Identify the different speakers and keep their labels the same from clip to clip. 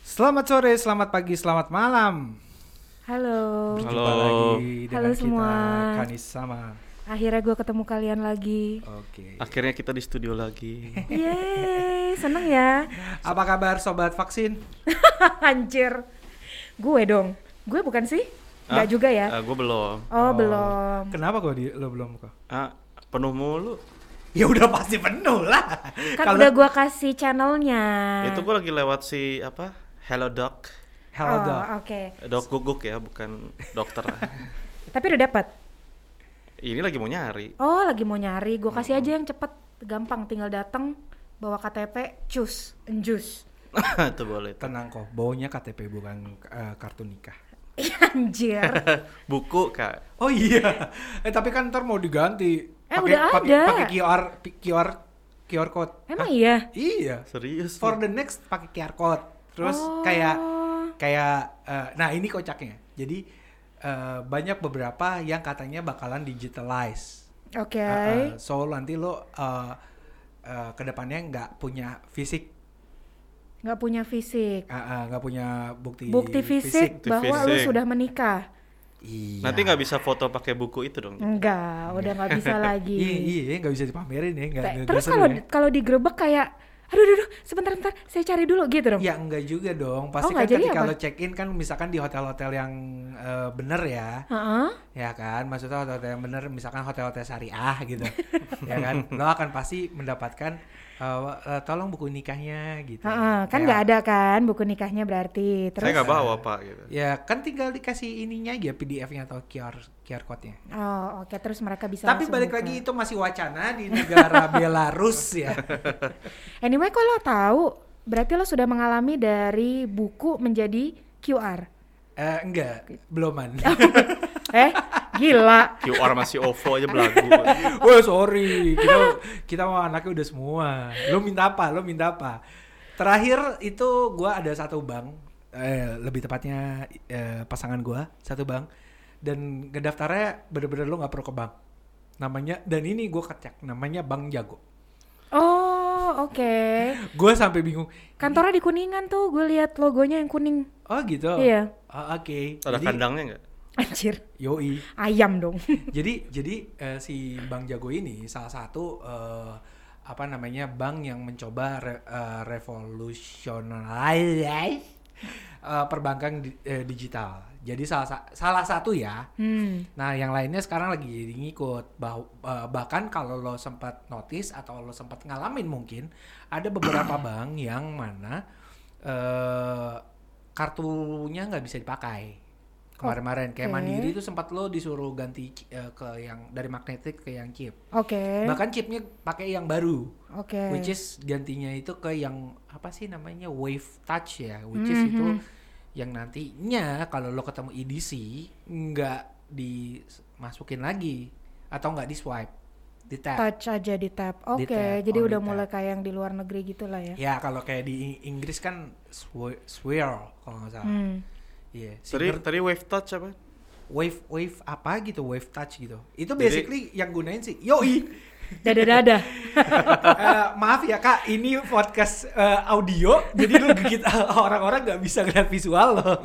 Speaker 1: Selamat sore, selamat pagi, selamat malam.
Speaker 2: Halo,
Speaker 1: Berjumpa
Speaker 3: Halo.
Speaker 1: lagi dengan
Speaker 2: Halo semua.
Speaker 1: kita Kanisama.
Speaker 2: akhirnya gue ketemu kalian lagi.
Speaker 1: Oke.
Speaker 3: Akhirnya kita di studio lagi.
Speaker 2: Yeay, seneng ya.
Speaker 1: Apa kabar sobat vaksin?
Speaker 2: Anjir, gue dong. Gue bukan sih? Enggak
Speaker 3: Ah,
Speaker 2: juga ya?
Speaker 3: ah, gua belum.
Speaker 2: Oh, belum.
Speaker 1: Kenapa kok di, lo belum kok?
Speaker 3: Ah, penuh mulu.
Speaker 1: Ya udah pasti penuh lah.
Speaker 2: Kan
Speaker 1: Kalau-
Speaker 2: udah gue kasih channelnya.
Speaker 3: Itu gua lagi lewat si apa? Hello Doc.
Speaker 1: Hello
Speaker 2: Oh,
Speaker 1: Doc.
Speaker 2: Oke,
Speaker 3: Doc guguk ya, bukan dokter.
Speaker 2: tapi udah dapat.
Speaker 3: Ini lagi mau nyari.
Speaker 2: Oh, lagi mau nyari. Gue kasih aja yang cepet, gampang. Tinggal datang, bawa KTP, cus, enjus.
Speaker 3: Itu
Speaker 2: ah.
Speaker 3: boleh. tuh.
Speaker 1: Tenang kok, baunya KTP bukan eh, kartu nikah.
Speaker 2: Anjir,
Speaker 3: Buku, Kak.
Speaker 1: Oh iya. Eh tapi kan ntar mau diganti.
Speaker 2: Eh,
Speaker 1: Pakai-
Speaker 2: udah
Speaker 1: pakai-
Speaker 2: ada.
Speaker 1: Pakai QR pi- QR QR code.
Speaker 2: emang
Speaker 1: Hah?
Speaker 2: iya?
Speaker 1: Iya.
Speaker 3: Serius.
Speaker 1: For
Speaker 3: lu?
Speaker 1: the next pakai QR code. Terus
Speaker 2: Oh.
Speaker 1: kayak kayak eh, nah ini kocaknya jadi eh, banyak beberapa yang katanya bakalan digitalize
Speaker 2: Oke.
Speaker 1: Eh, eh, so nanti lo eh, eh, kedepannya nggak punya fisik
Speaker 2: nggak punya fisik.
Speaker 1: eh, eh, nggak punya bukti
Speaker 2: Bukti fisik,
Speaker 3: Bukti
Speaker 2: bahwa lu
Speaker 3: fisik.
Speaker 2: sudah menikah.
Speaker 1: iya
Speaker 3: Nanti nggak bisa foto pakai buku itu dong.
Speaker 2: Hmm, Enggak, udah nggak bisa lagi.
Speaker 1: iya iya nggak bisa dipamerin ya nggak
Speaker 2: Te-
Speaker 1: nggak-
Speaker 2: Terus
Speaker 1: nggak seru
Speaker 2: kalau
Speaker 1: ya.
Speaker 2: kalau digerebek kayak aduh aduh, aduh, sebentar bentar saya cari dulu gitu dong.
Speaker 1: Ya enggak juga dong. Pasti
Speaker 2: Oh,
Speaker 1: kan
Speaker 2: nggak jadi
Speaker 1: ketika
Speaker 2: apa?
Speaker 1: lo check in kan misalkan di hotel-hotel yang eh, bener ya.
Speaker 2: Heeh.
Speaker 1: ya kan maksudnya hotel-hotel yang bener misalkan hotel-hotel syariah gitu ya kan lo akan pasti mendapatkan uh, uh, tolong buku nikahnya gitu
Speaker 2: Heeh, kan
Speaker 1: Kayak,
Speaker 2: nggak ada kan buku nikahnya berarti. Terus
Speaker 3: Saya nggak bawa, Pak gitu.
Speaker 1: ya kan tinggal dikasih ininya aja PDF-nya atau QR QR code-nya
Speaker 2: Oh, oke terus mereka bisa
Speaker 1: tapi
Speaker 2: langsung
Speaker 1: balik
Speaker 2: buka.
Speaker 1: lagi itu masih wacana di negara Belarus ya
Speaker 2: Anyway, kalau tahu berarti lo sudah mengalami dari buku menjadi QR.
Speaker 1: Eh, enggak beluman
Speaker 2: Eh, gila.
Speaker 3: QR masih OVO aja belagu.
Speaker 1: oh sorry kita kita mau anaknya udah semua lo minta apa lo minta apa terakhir itu gua ada satu bank eh, lebih tepatnya eh, pasangan gua satu bank dan ngedaftarnya bener-bener lo nggak perlu ke bank namanya dan ini gua kecek namanya bank jago
Speaker 2: Oh, oke.
Speaker 1: Gua sampai bingung
Speaker 2: Kantornya di Kuningan tuh, gue lihat logonya yang kuning.
Speaker 1: oh gitu
Speaker 2: Iya.
Speaker 1: Oh, oke
Speaker 3: Ada
Speaker 1: Jadi-
Speaker 3: kandangnya nggak?
Speaker 2: Anjir,
Speaker 1: yoi
Speaker 2: ayam dong.
Speaker 1: jadi jadi eh, si Bang Jago ini salah satu eh, apa namanya bank yang mencoba re, eh, revolutionalize eh, perbankan di- eh, digital. Jadi salah sa- salah satu ya.
Speaker 2: Hmm.
Speaker 1: Nah, yang lainnya sekarang lagi jadi ngikut. Bah- eh, bahkan kalau lo sempat notice atau lo sempat ngalamin mungkin ada beberapa bank yang mana eh kartunya nggak bisa dipakai. Kemarin-kemarin kayak
Speaker 2: Oke.
Speaker 1: Mandiri itu sempat lo disuruh ganti ci- eh, ke yang dari magnetik ke yang chip.
Speaker 2: Oke.
Speaker 1: Bahkan chipnya pakai yang baru,
Speaker 2: Oke.
Speaker 1: which is gantinya itu ke yang apa sih namanya Wave Touch ya, which is
Speaker 2: Mhm.
Speaker 1: itu yang nantinya kalau lo ketemu EDC nggak dimasukin lagi atau nggak di swipe di tap
Speaker 2: touch aja di tab. Oke,
Speaker 1: tab,
Speaker 2: jadi
Speaker 1: oh, di
Speaker 2: udah
Speaker 1: tab.
Speaker 2: mulai kayak yang di luar negeri gitu lah ya.
Speaker 1: ya kalau kayak di Ing- Inggris kan swi- swirl kalau nggak salah
Speaker 2: Hmm.
Speaker 1: iya
Speaker 3: Tadi
Speaker 1: Singer-
Speaker 3: tadi wave touch apa?
Speaker 1: wave wave apa gitu wave touch gitu itu
Speaker 3: Jadi-
Speaker 1: basically yang gunain sih yoi
Speaker 2: Dada dada.
Speaker 1: Eh, maaf ya kak ini podcast eh, audio jadi lu gigit orang-orang nggak bisa ngeliat visual lo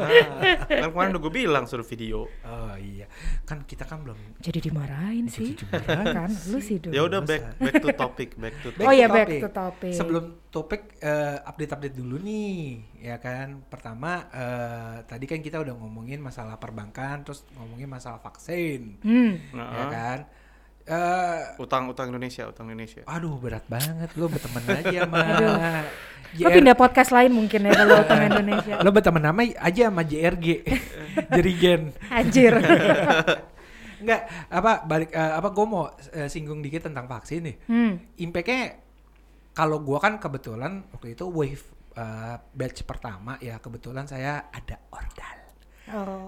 Speaker 3: Kan kemarin udah gue bilang suruh video.
Speaker 1: oh iya kan kita kan belum
Speaker 2: jadi dimarahin sih.
Speaker 1: Jadi dimarahin
Speaker 2: kan lu sih dong.
Speaker 3: Ya udah
Speaker 1: Masa?
Speaker 3: back back to topic, back to
Speaker 2: Oh
Speaker 3: topic.
Speaker 2: iya, back to topic.
Speaker 1: Sebelum topik eh, update-update dulu nih, ya kan. Pertama eh, tadi kan kita udah ngomongin masalah perbankan, terus ngomongin masalah vaksin,
Speaker 2: Hmm.
Speaker 1: ya
Speaker 3: Nah,
Speaker 1: kan. Eh,
Speaker 3: Utang-utang Indonesia, utang Indonesia.
Speaker 1: aduh berat banget lo berteman aja sama
Speaker 2: Aduh. Lo
Speaker 1: JR
Speaker 2: pindah podcast lain mungkin ya kalau utang Indonesia.
Speaker 1: Lo berteman nama aja sama JRG, Jerigen.
Speaker 2: Anjir.
Speaker 1: Enggak, apa balik eh, apa gue mau eh, singgung dikit tentang vaksin nih.
Speaker 2: hmm.
Speaker 1: impactnya kalau gua kan kebetulan waktu itu wave uh, batch pertama ya kebetulan saya ada ordal
Speaker 2: Oh.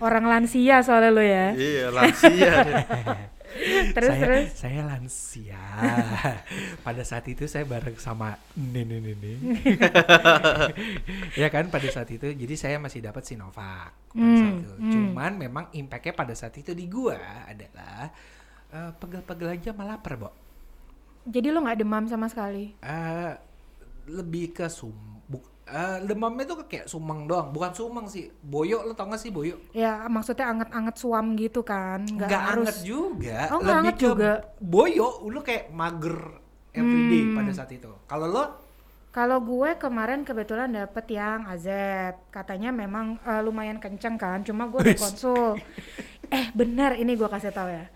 Speaker 2: Orang lansia soalnya lo ya.
Speaker 3: Iya, lansia.
Speaker 2: Terus
Speaker 1: saya,
Speaker 2: terus.
Speaker 1: saya lansia pada saat itu saya bareng sama nenek nenek ya kan pada saat itu jadi saya masih dapat sinovac pada saat
Speaker 2: Hmm,
Speaker 1: itu.
Speaker 2: hmm.
Speaker 1: cuman memang impactnya pada saat itu di gua adalah uh, pegel-pegel aja malah lapar Bo.
Speaker 2: Jadi lo nggak demam sama sekali.
Speaker 1: Eh, lebih ke sum bu- eh, demamnya tuh kayak sumeng doang, bukan sumeng sih. Boyo lo tau gak sih boyo?
Speaker 2: Ya maksudnya anget-anget suam gitu kan, nggak
Speaker 1: Nggak
Speaker 2: harus.
Speaker 1: anget juga,
Speaker 2: Oh, nggak
Speaker 1: lebih
Speaker 2: anget
Speaker 1: ke
Speaker 2: juga.
Speaker 1: boyo, lo kayak mager everyday
Speaker 2: Hmm.
Speaker 1: pada saat itu. Kalau lo
Speaker 2: Kalau gue kemarin kebetulan dapet yang AZ, katanya memang eh, lumayan kenceng kan, cuma gue udah
Speaker 1: Wis.
Speaker 2: konsul. eh benar ini gue kasih tahu ya.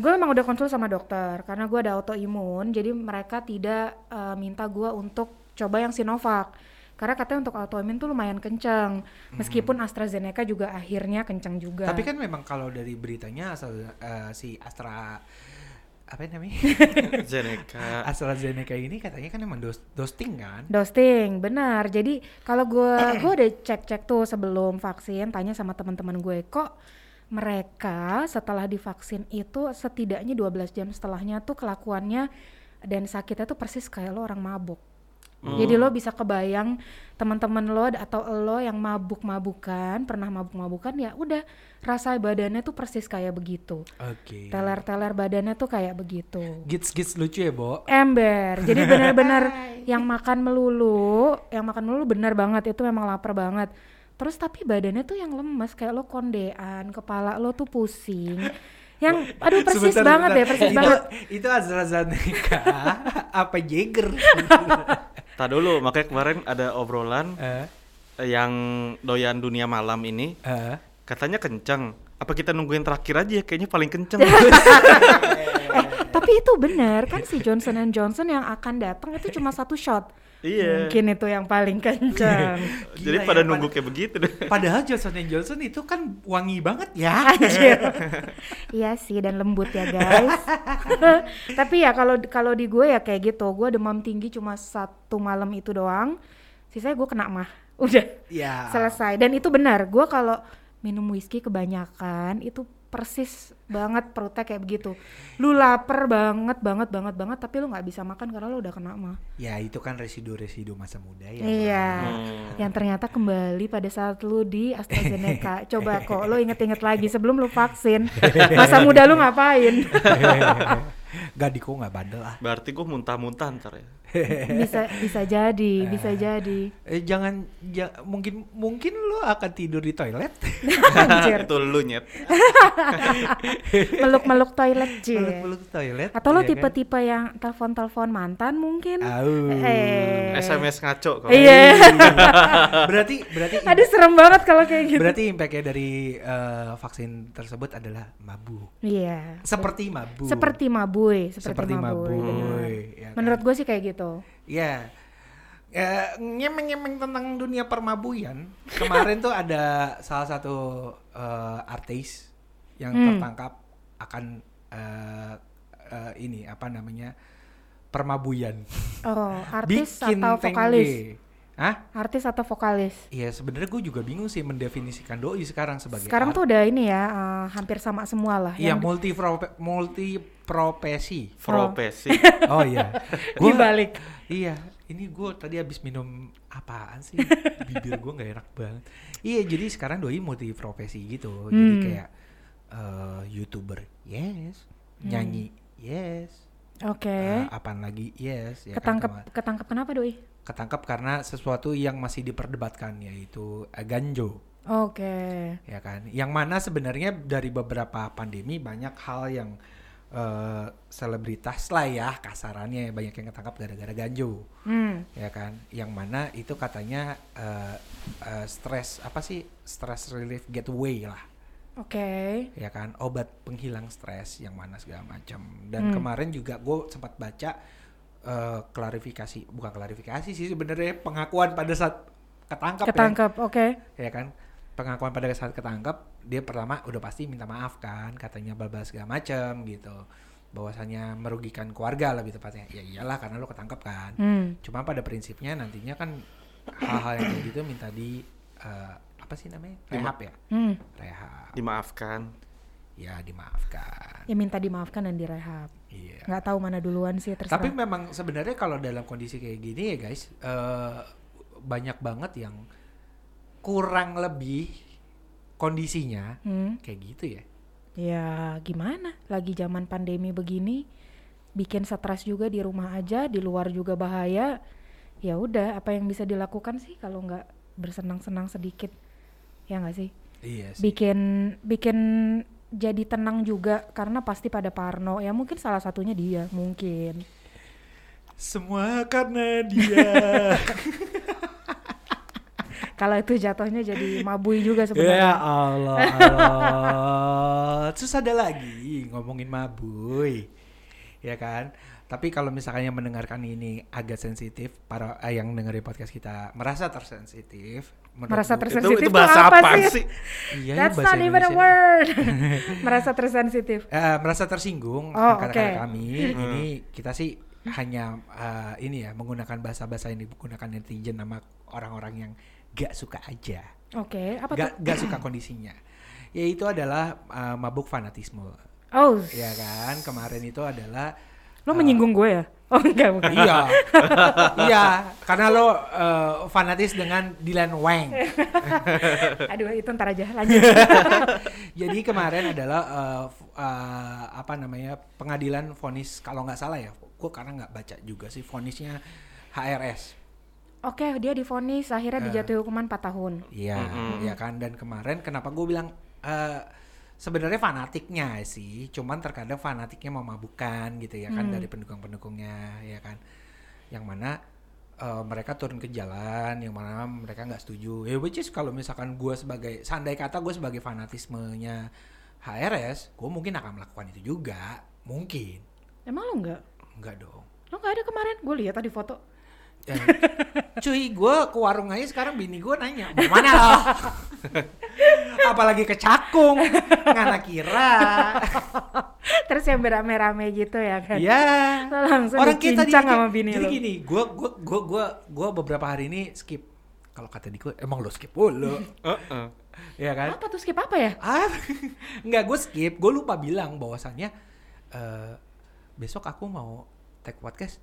Speaker 2: Gue emang udah konsul sama dokter karena gue ada autoimun, jadi mereka tidak eh, minta gue untuk coba yang Sinovac. Karena katanya untuk autoimun tuh lumayan kenceng, meskipun AstraZeneca juga akhirnya kenceng juga.
Speaker 1: Tapi kan memang kalau dari beritanya asal eh, si Astra apa namanya?
Speaker 3: Zeneca.
Speaker 1: AstraZeneca ini katanya kan emang dos, dosing kan?
Speaker 2: Dosting, benar. Jadi kalau gue gue udah cek-cek tuh sebelum vaksin, tanya sama teman-teman gue kok mereka setelah divaksin itu setidaknya 12 jam setelahnya tuh kelakuannya dan sakitnya tuh persis kayak lo orang mabuk. Jadi lo bisa kebayang teman-teman lo ad- atau lo yang mabuk-mabukan, pernah mabuk-mabukan ya udah rasa badannya tuh persis kayak begitu.
Speaker 1: Oke.
Speaker 2: Teler-teler badannya tuh kayak begitu
Speaker 1: Gits-gits lucu ya, Bo.
Speaker 2: ember jadi benar-benar yang makan melulu yang makan melulu benar banget itu memang lapar banget terus tapi badannya tuh yang lemes kayak lo kondean kepala lo tuh pusing yang aduh persis
Speaker 1: Sebentar,
Speaker 2: banget
Speaker 1: sebentar.
Speaker 2: deh persis
Speaker 1: itu,
Speaker 2: banget
Speaker 1: Itu AstraZeneca apa Jaeger?
Speaker 3: Tak dulu, makanya kemarin ada obrolan
Speaker 1: Eh,
Speaker 3: eh, yang doyan dunia malam ini
Speaker 1: eh.
Speaker 3: katanya kenceng. Apa kita nungguin terakhir aja? ya? Kayaknya paling kenceng.
Speaker 2: Eh, tapi itu benar kan si Johnson and Johnson yang akan datang itu cuma satu shot
Speaker 3: Iya.
Speaker 2: mungkin itu yang paling kencang
Speaker 3: Jadi
Speaker 1: Gila
Speaker 3: pada
Speaker 1: ya,
Speaker 3: nunggu
Speaker 1: pad-
Speaker 3: kayak begitu deh.
Speaker 1: Padahal Johnson Johnson itu kan wangi banget ya.
Speaker 2: Anjir. iya sih dan lembut ya guys. Tapi ya kalau kalau di gue ya kayak gitu. Gue demam tinggi cuma satu malam itu doang. Sisanya gue kena mah. Udah
Speaker 1: ya.
Speaker 2: selesai. Dan itu benar. Gue kalau minum whisky kebanyakan itu persis banget perutnya kayak begitu. Lu lapar banget banget banget banget tapi lu nggak bisa makan karena lu udah kena mah.
Speaker 1: Ya itu kan residu-residu masa muda ya.
Speaker 2: Iya.
Speaker 3: Hmm.
Speaker 2: Yang ternyata kembali pada saat lu di AstraZeneca. Coba kok lu inget-inget lagi sebelum lu vaksin. Masa muda lu ngapain?
Speaker 1: Gak di kok gak bandel ah.
Speaker 3: Berarti gue muntah-muntah ntar ya.
Speaker 2: bisa bisa jadi, bisa jadi.
Speaker 1: Eh, jangan ja- mungkin mungkin lo akan tidur di toilet.
Speaker 2: Anjir.
Speaker 3: Itu lu nyet.
Speaker 2: Meluk-meluk toilet, Ci.
Speaker 1: Peluk-peluk toilet.
Speaker 2: Atau
Speaker 1: ya
Speaker 2: lo
Speaker 1: kan?
Speaker 2: tipe-tipe yang telepon-telepon mantan mungkin?
Speaker 1: Au.
Speaker 2: Eh.
Speaker 3: SMS ngaco kok.
Speaker 2: Iya.
Speaker 1: berarti berarti im-
Speaker 2: Aduh serem banget kalau kayak gitu.
Speaker 1: berarti impactnya dari eh, vaksin tersebut adalah mabuk.
Speaker 2: Iya.
Speaker 1: Seperti mabuk.
Speaker 2: Seperti mabui, seperti,
Speaker 1: Seperti
Speaker 2: mabui.
Speaker 1: mabui,
Speaker 3: Hmm.
Speaker 2: benar.
Speaker 1: ya kan?
Speaker 2: Menurut gue sih kayak gitu.
Speaker 1: Ya. Eh, nyemeng-nyemeng tentang dunia permabuyan. Kemarin tuh ada salah satu eh, artis yang
Speaker 2: Hmm.
Speaker 1: tertangkap akan eh, eh, ini apa namanya? permabuyan.
Speaker 2: Oh, artis
Speaker 1: Bikin
Speaker 2: atau
Speaker 1: tengge.
Speaker 2: vokalis?
Speaker 1: Hah?
Speaker 2: Artis atau vokalis?
Speaker 1: Iya, sebenarnya gue juga bingung sih mendefinisikan doi sekarang sebagai
Speaker 2: Sekarang
Speaker 1: art-
Speaker 2: tuh udah ini ya, eh, hampir sama semua lah.
Speaker 1: Iya,
Speaker 2: yang
Speaker 1: multi multi profesi.
Speaker 3: Profesi.
Speaker 1: Oh iya.
Speaker 2: dibalik.
Speaker 1: Iya, ini gue tadi habis minum apaan sih? Bibir gue nggak enak banget. Iya, jadi sekarang doi multi profesi gitu. Jadi
Speaker 2: Hmm.
Speaker 1: kayak eh, youtuber, yes.
Speaker 2: Hmm.
Speaker 1: Nyanyi, yes.
Speaker 2: Oke.
Speaker 1: Eh, apaan lagi, yes. Ya kan,
Speaker 2: ketangkep
Speaker 1: sama-
Speaker 2: ketangkep kenapa doi?
Speaker 1: ketangkep karena sesuatu yang masih diperdebatkan yaitu eh, ganjo.
Speaker 2: Oke.
Speaker 1: ya kan yang mana sebenarnya dari beberapa pandemi banyak hal yang eh, selebritas lah ya kasarannya banyak yang ketangkap gara-gara ganjo
Speaker 2: Hmm.
Speaker 1: ya kan yang mana itu katanya eh, eh, stres apa sih stress relief getaway lah
Speaker 2: Oke.
Speaker 1: ya kan obat penghilang stres yang mana segala macam dan
Speaker 2: Hmm.
Speaker 1: kemarin juga gue sempat baca eh, klarifikasi bukan klarifikasi sih sebenarnya pengakuan pada saat ketangkap ya
Speaker 2: Ketangkep. Oke.
Speaker 1: ya kan pengakuan pada saat ketangkap dia pertama udah pasti minta maaf kan katanya babas segala macem gitu bahwasannya merugikan keluarga lebih tepatnya ya iyalah karena lo ketangkap kan
Speaker 2: Hmm.
Speaker 1: cuma pada prinsipnya nantinya kan hal-hal yang kayak gitu minta di eh, apa sih namanya rehab ya
Speaker 2: Hmm.
Speaker 1: rehab
Speaker 3: Dimaafkan.
Speaker 1: ya dimaafkan
Speaker 2: Ya minta dimaafkan dan direhab.
Speaker 1: iya
Speaker 2: Nggak tahu mana duluan sih Nah, terserah.
Speaker 1: Tapi memang sebenarnya kalau dalam kondisi kayak gini ya guys, eh, banyak banget yang kurang lebih kondisinya
Speaker 2: Hmm.
Speaker 1: kayak gitu ya.
Speaker 2: Ya gimana? Lagi zaman pandemi begini, bikin stres juga di rumah aja, di luar juga bahaya. ya udah apa yang bisa dilakukan sih kalau nggak bersenang-senang sedikit ya nggak sih
Speaker 1: Iya sih.
Speaker 2: bikin bikin jadi tenang juga karena pasti pada Parno ya mungkin salah satunya dia mungkin
Speaker 1: Semua karena dia.
Speaker 2: kalau itu jatuhnya jadi mabui
Speaker 1: ya
Speaker 2: juga sebenarnya
Speaker 1: Allah, Allah. Terus ada lagi ngomongin mabui. Ya kan? Tapi kalau misalkan yang mendengarkan ini agak sensitif, para eh, yang dengerin podcast kita merasa tersensitif, menurut
Speaker 2: merasa
Speaker 1: gua-
Speaker 3: Itu,
Speaker 2: tersensitif
Speaker 3: itu
Speaker 2: tuh
Speaker 3: bahasa
Speaker 2: apa
Speaker 3: apaan
Speaker 2: sih?
Speaker 3: sih?
Speaker 1: Iya,
Speaker 2: that's
Speaker 1: bahasa
Speaker 2: not even a
Speaker 1: Indonesia.
Speaker 2: word merasa tersensitif
Speaker 1: Eh, merasa tersinggung
Speaker 2: Oh,
Speaker 1: akan kata-kata
Speaker 2: oke.
Speaker 1: kami. Ini kita sih hanya eh, ini ya menggunakan bahasa-bahasa yang digunakan netizen sama orang-orang yang gak suka aja,
Speaker 2: oke apa tuh
Speaker 1: gak, gak suka kondisinya. Yaitu adalah eh, mabuk fanatisme,
Speaker 2: oh
Speaker 1: ya kan? Kemarin itu adalah
Speaker 2: lo menyinggung gue ya oh enggak
Speaker 1: Ah.
Speaker 2: bukan
Speaker 1: iya, iya, karena lo eh, fanatis dengan Dylan Wang.
Speaker 2: aduh itu ntar aja lanjut
Speaker 1: Jadi kemarin adalah eh, f- eh, apa namanya pengadilan vonis kalau nggak salah ya, gue karena nggak baca juga sih vonisnya HRS.
Speaker 2: oke dia difonis
Speaker 1: Ah.
Speaker 2: akhirnya dijatuhi hukuman 4 tahun
Speaker 1: Iya, iya kan. Dan kemarin kenapa gue bilang eh, sebenarnya fanatiknya sih, cuman terkadang fanatiknya memabukan gitu ya kan dari pendukung-pendukungnya ya kan, yang mana eh, mereka turun ke jalan, yang mana mereka nggak setuju. Ya which is kalau misalkan gue sebagai, sandai kata gue sebagai fanatismenya HRS, gue mungkin akan melakukan itu juga, mungkin.
Speaker 2: emang lo enggak
Speaker 1: Enggak dong.
Speaker 2: lo enggak ada kemarin gue lihat tadi foto
Speaker 1: Eh, cuy gue ke warung aja sekarang bini gue nanya "Mau mana lo apalagi ke cakung ngana kira
Speaker 2: terus yang rame-rame gitu ya kan
Speaker 1: ya
Speaker 2: Lo langsung dicincang sama bini
Speaker 1: jadi
Speaker 2: lo.
Speaker 1: gini gue gue gue gue gue beberapa hari ini skip kalau kata Diko emang lo skip dulu
Speaker 3: Heeh.
Speaker 1: ya kan
Speaker 2: apa tuh skip apa ya
Speaker 1: ah nggak gue skip gue lupa bilang bahwasannya eh, besok aku mau take podcast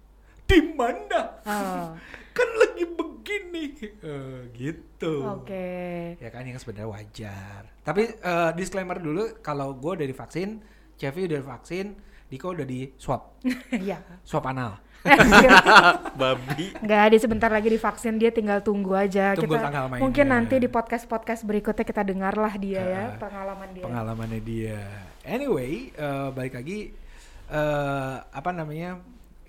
Speaker 1: di mana
Speaker 2: oh,
Speaker 1: kan lagi begini Eh, gitu
Speaker 2: Oh, oke
Speaker 1: ya kan yang sebenarnya wajar. Tapi eh, disclaimer dulu kalau gue udah divaksin, Chevy udah divaksin, Diko udah di swab,
Speaker 2: ya
Speaker 1: swab anal.
Speaker 3: Babi.
Speaker 2: Nggak, dia sebentar lagi divaksin, dia tinggal tunggu aja.
Speaker 1: Tunggu
Speaker 2: kita
Speaker 1: tanggal mainnya.
Speaker 2: mungkin nanti di podcast-podcast berikutnya kita dengarlah dia ya
Speaker 1: Ah,
Speaker 2: pengalaman dia.
Speaker 1: Pengalamannya dia. Anyway, eh, balik lagi eh, apa namanya?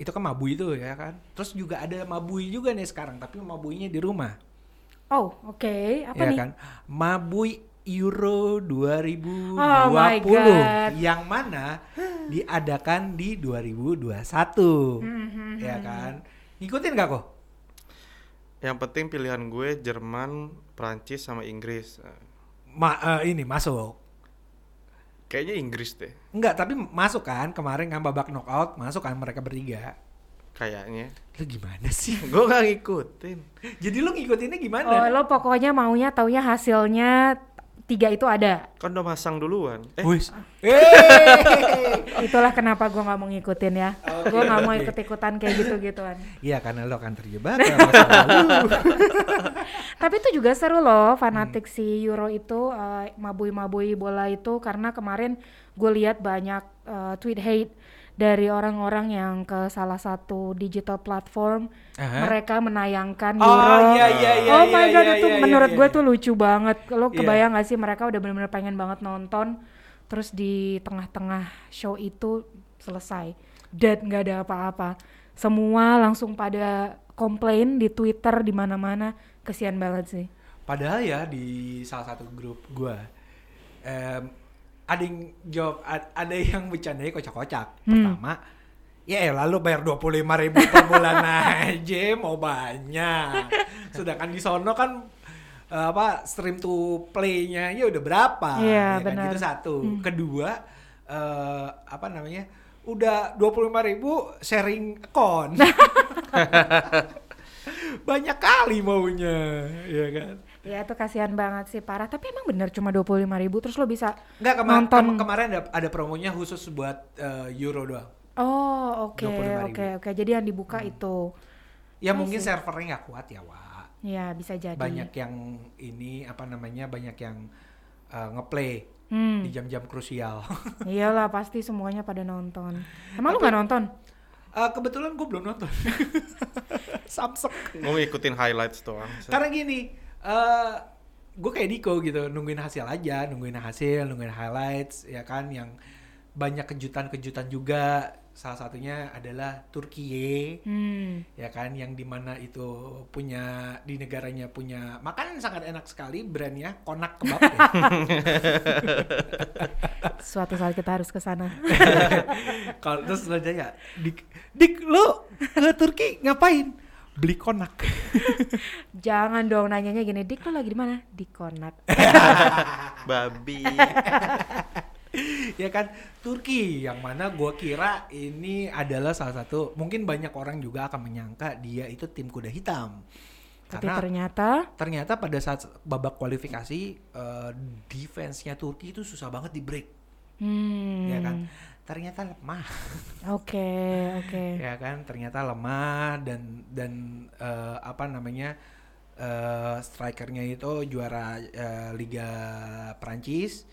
Speaker 1: Itu kan mabui itu ya kan. Terus juga ada mabui juga nih sekarang, tapi mabuinya di rumah.
Speaker 2: oh, oke. Apa
Speaker 1: ya
Speaker 2: nih?
Speaker 1: kan? Mabui Euro 2020
Speaker 2: Oh my God.
Speaker 1: yang mana diadakan di 2021.
Speaker 2: Mhm.
Speaker 1: ya kan? Ngikutin gak kok?
Speaker 3: Yang penting pilihan gue Jerman, Prancis sama Inggris. Eh,
Speaker 1: Ma- eh, ini masuk.
Speaker 3: Kayaknya Inggris deh.
Speaker 1: Enggak, tapi masuk kan kemarin kan babak knockout masuk kan mereka bertiga.
Speaker 3: Kayaknya.
Speaker 1: Lu gimana sih?
Speaker 3: Gue gak ngikutin.
Speaker 1: Jadi lu ngikutinnya gimana?
Speaker 2: Oh, lo pokoknya maunya taunya hasilnya tiga itu ada.
Speaker 3: Kan udah masang duluan. Eh,
Speaker 1: Wis. Eh.
Speaker 2: Itulah kenapa gue nggak mau ngikutin ya. Gue nggak mau ikut-ikutan kayak gitu-gituan.
Speaker 1: Iya karena lu akan terjebak ke masa lalu.
Speaker 2: Tapi itu juga seru loh
Speaker 1: Hmm.
Speaker 2: fanatik si Euro itu eh, mabui-mabui bola itu karena kemarin gue lihat banyak eh, tweet hate dari orang-orang yang ke salah satu digital platform
Speaker 1: Aha.
Speaker 2: mereka menayangkan
Speaker 1: Oh,
Speaker 2: Euro.
Speaker 1: iya, iya, iya,
Speaker 2: oh
Speaker 1: iya,
Speaker 2: my god
Speaker 1: iya,
Speaker 2: itu
Speaker 1: iya,
Speaker 2: menurut
Speaker 1: iya,
Speaker 2: gue
Speaker 1: iya.
Speaker 2: tuh lucu banget. Lo
Speaker 1: Iya.
Speaker 2: kebayang gak sih mereka udah bener-bener pengen banget nonton terus di tengah-tengah show itu selesai dead nggak ada apa-apa semua langsung pada komplain di Twitter di mana-mana kesian banget sih
Speaker 1: Padahal ya di salah satu grup gua em, ada yang jawab ad- ada yang bercandanya kocak-kocak.
Speaker 2: Hmm.
Speaker 1: Pertama, ya lalu bayar 25.000 ribu per bulan aja mau banyak. Sedangkan di sono kan eh, apa stream to play-nya ya udah berapa.
Speaker 2: Iya,
Speaker 1: ya kan?
Speaker 2: benar. Hmm.
Speaker 1: Itu satu. Kedua, eh, apa namanya? Udah 25.000 sharing account. banyak kali maunya, ya kan?
Speaker 2: ya itu kasihan banget sih parah tapi emang bener cuma 25.000 ribu terus lo bisa
Speaker 1: Enggak kemarin
Speaker 2: nonton
Speaker 1: kemarin ada ada promonya khusus buat eh, Euro doang.
Speaker 2: oh oke
Speaker 1: 25.000.
Speaker 2: oke oke jadi yang dibuka
Speaker 1: Hmm.
Speaker 2: itu
Speaker 1: Ya mungkin servernya nggak kuat ya, Wak.
Speaker 2: ya bisa Oh, jadi
Speaker 1: Banyak yang ini apa namanya? Banyak yang eh, ngeplay
Speaker 2: hmm
Speaker 1: di jam-jam krusial.
Speaker 2: iyalah pasti semuanya pada nonton emang lo nggak nonton
Speaker 1: Eh, kebetulan gue belum nonton. Samsek.
Speaker 3: Gue ngikutin highlights doang.
Speaker 1: Karena gini, eh gue kayak Diko gitu, nungguin hasil aja, nungguin hasil, nungguin highlights, ya kan, yang banyak kejutan-kejutan juga. Salah satunya adalah Turkiye,
Speaker 2: Hmm.
Speaker 1: ya kan, yang dimana itu punya di negaranya punya makanan sangat enak sekali, brandnya Konak Kebab. ya.
Speaker 2: Suatu saat kita harus ke sana.
Speaker 1: Kalau terus ya, lo nanya, Dik, Dik lo ke Turki ngapain? Beli Konak.
Speaker 2: Jangan dong nanyanya gini, Dik lu lagi di mana? Di Konak.
Speaker 3: Babi.
Speaker 1: ya kan Turki yang mana gua kira ini adalah salah satu mungkin banyak orang juga akan menyangka dia itu tim kuda hitam
Speaker 2: Tapi
Speaker 1: karena
Speaker 2: ternyata
Speaker 1: ternyata pada saat babak kualifikasi eh, defense-nya Turki itu susah banget di break
Speaker 2: hmm.
Speaker 1: ya kan ternyata lemah
Speaker 2: Oke, oke.
Speaker 1: ya kan ternyata lemah dan dan eh, apa namanya eh, strikernya itu juara eh, Liga Prancis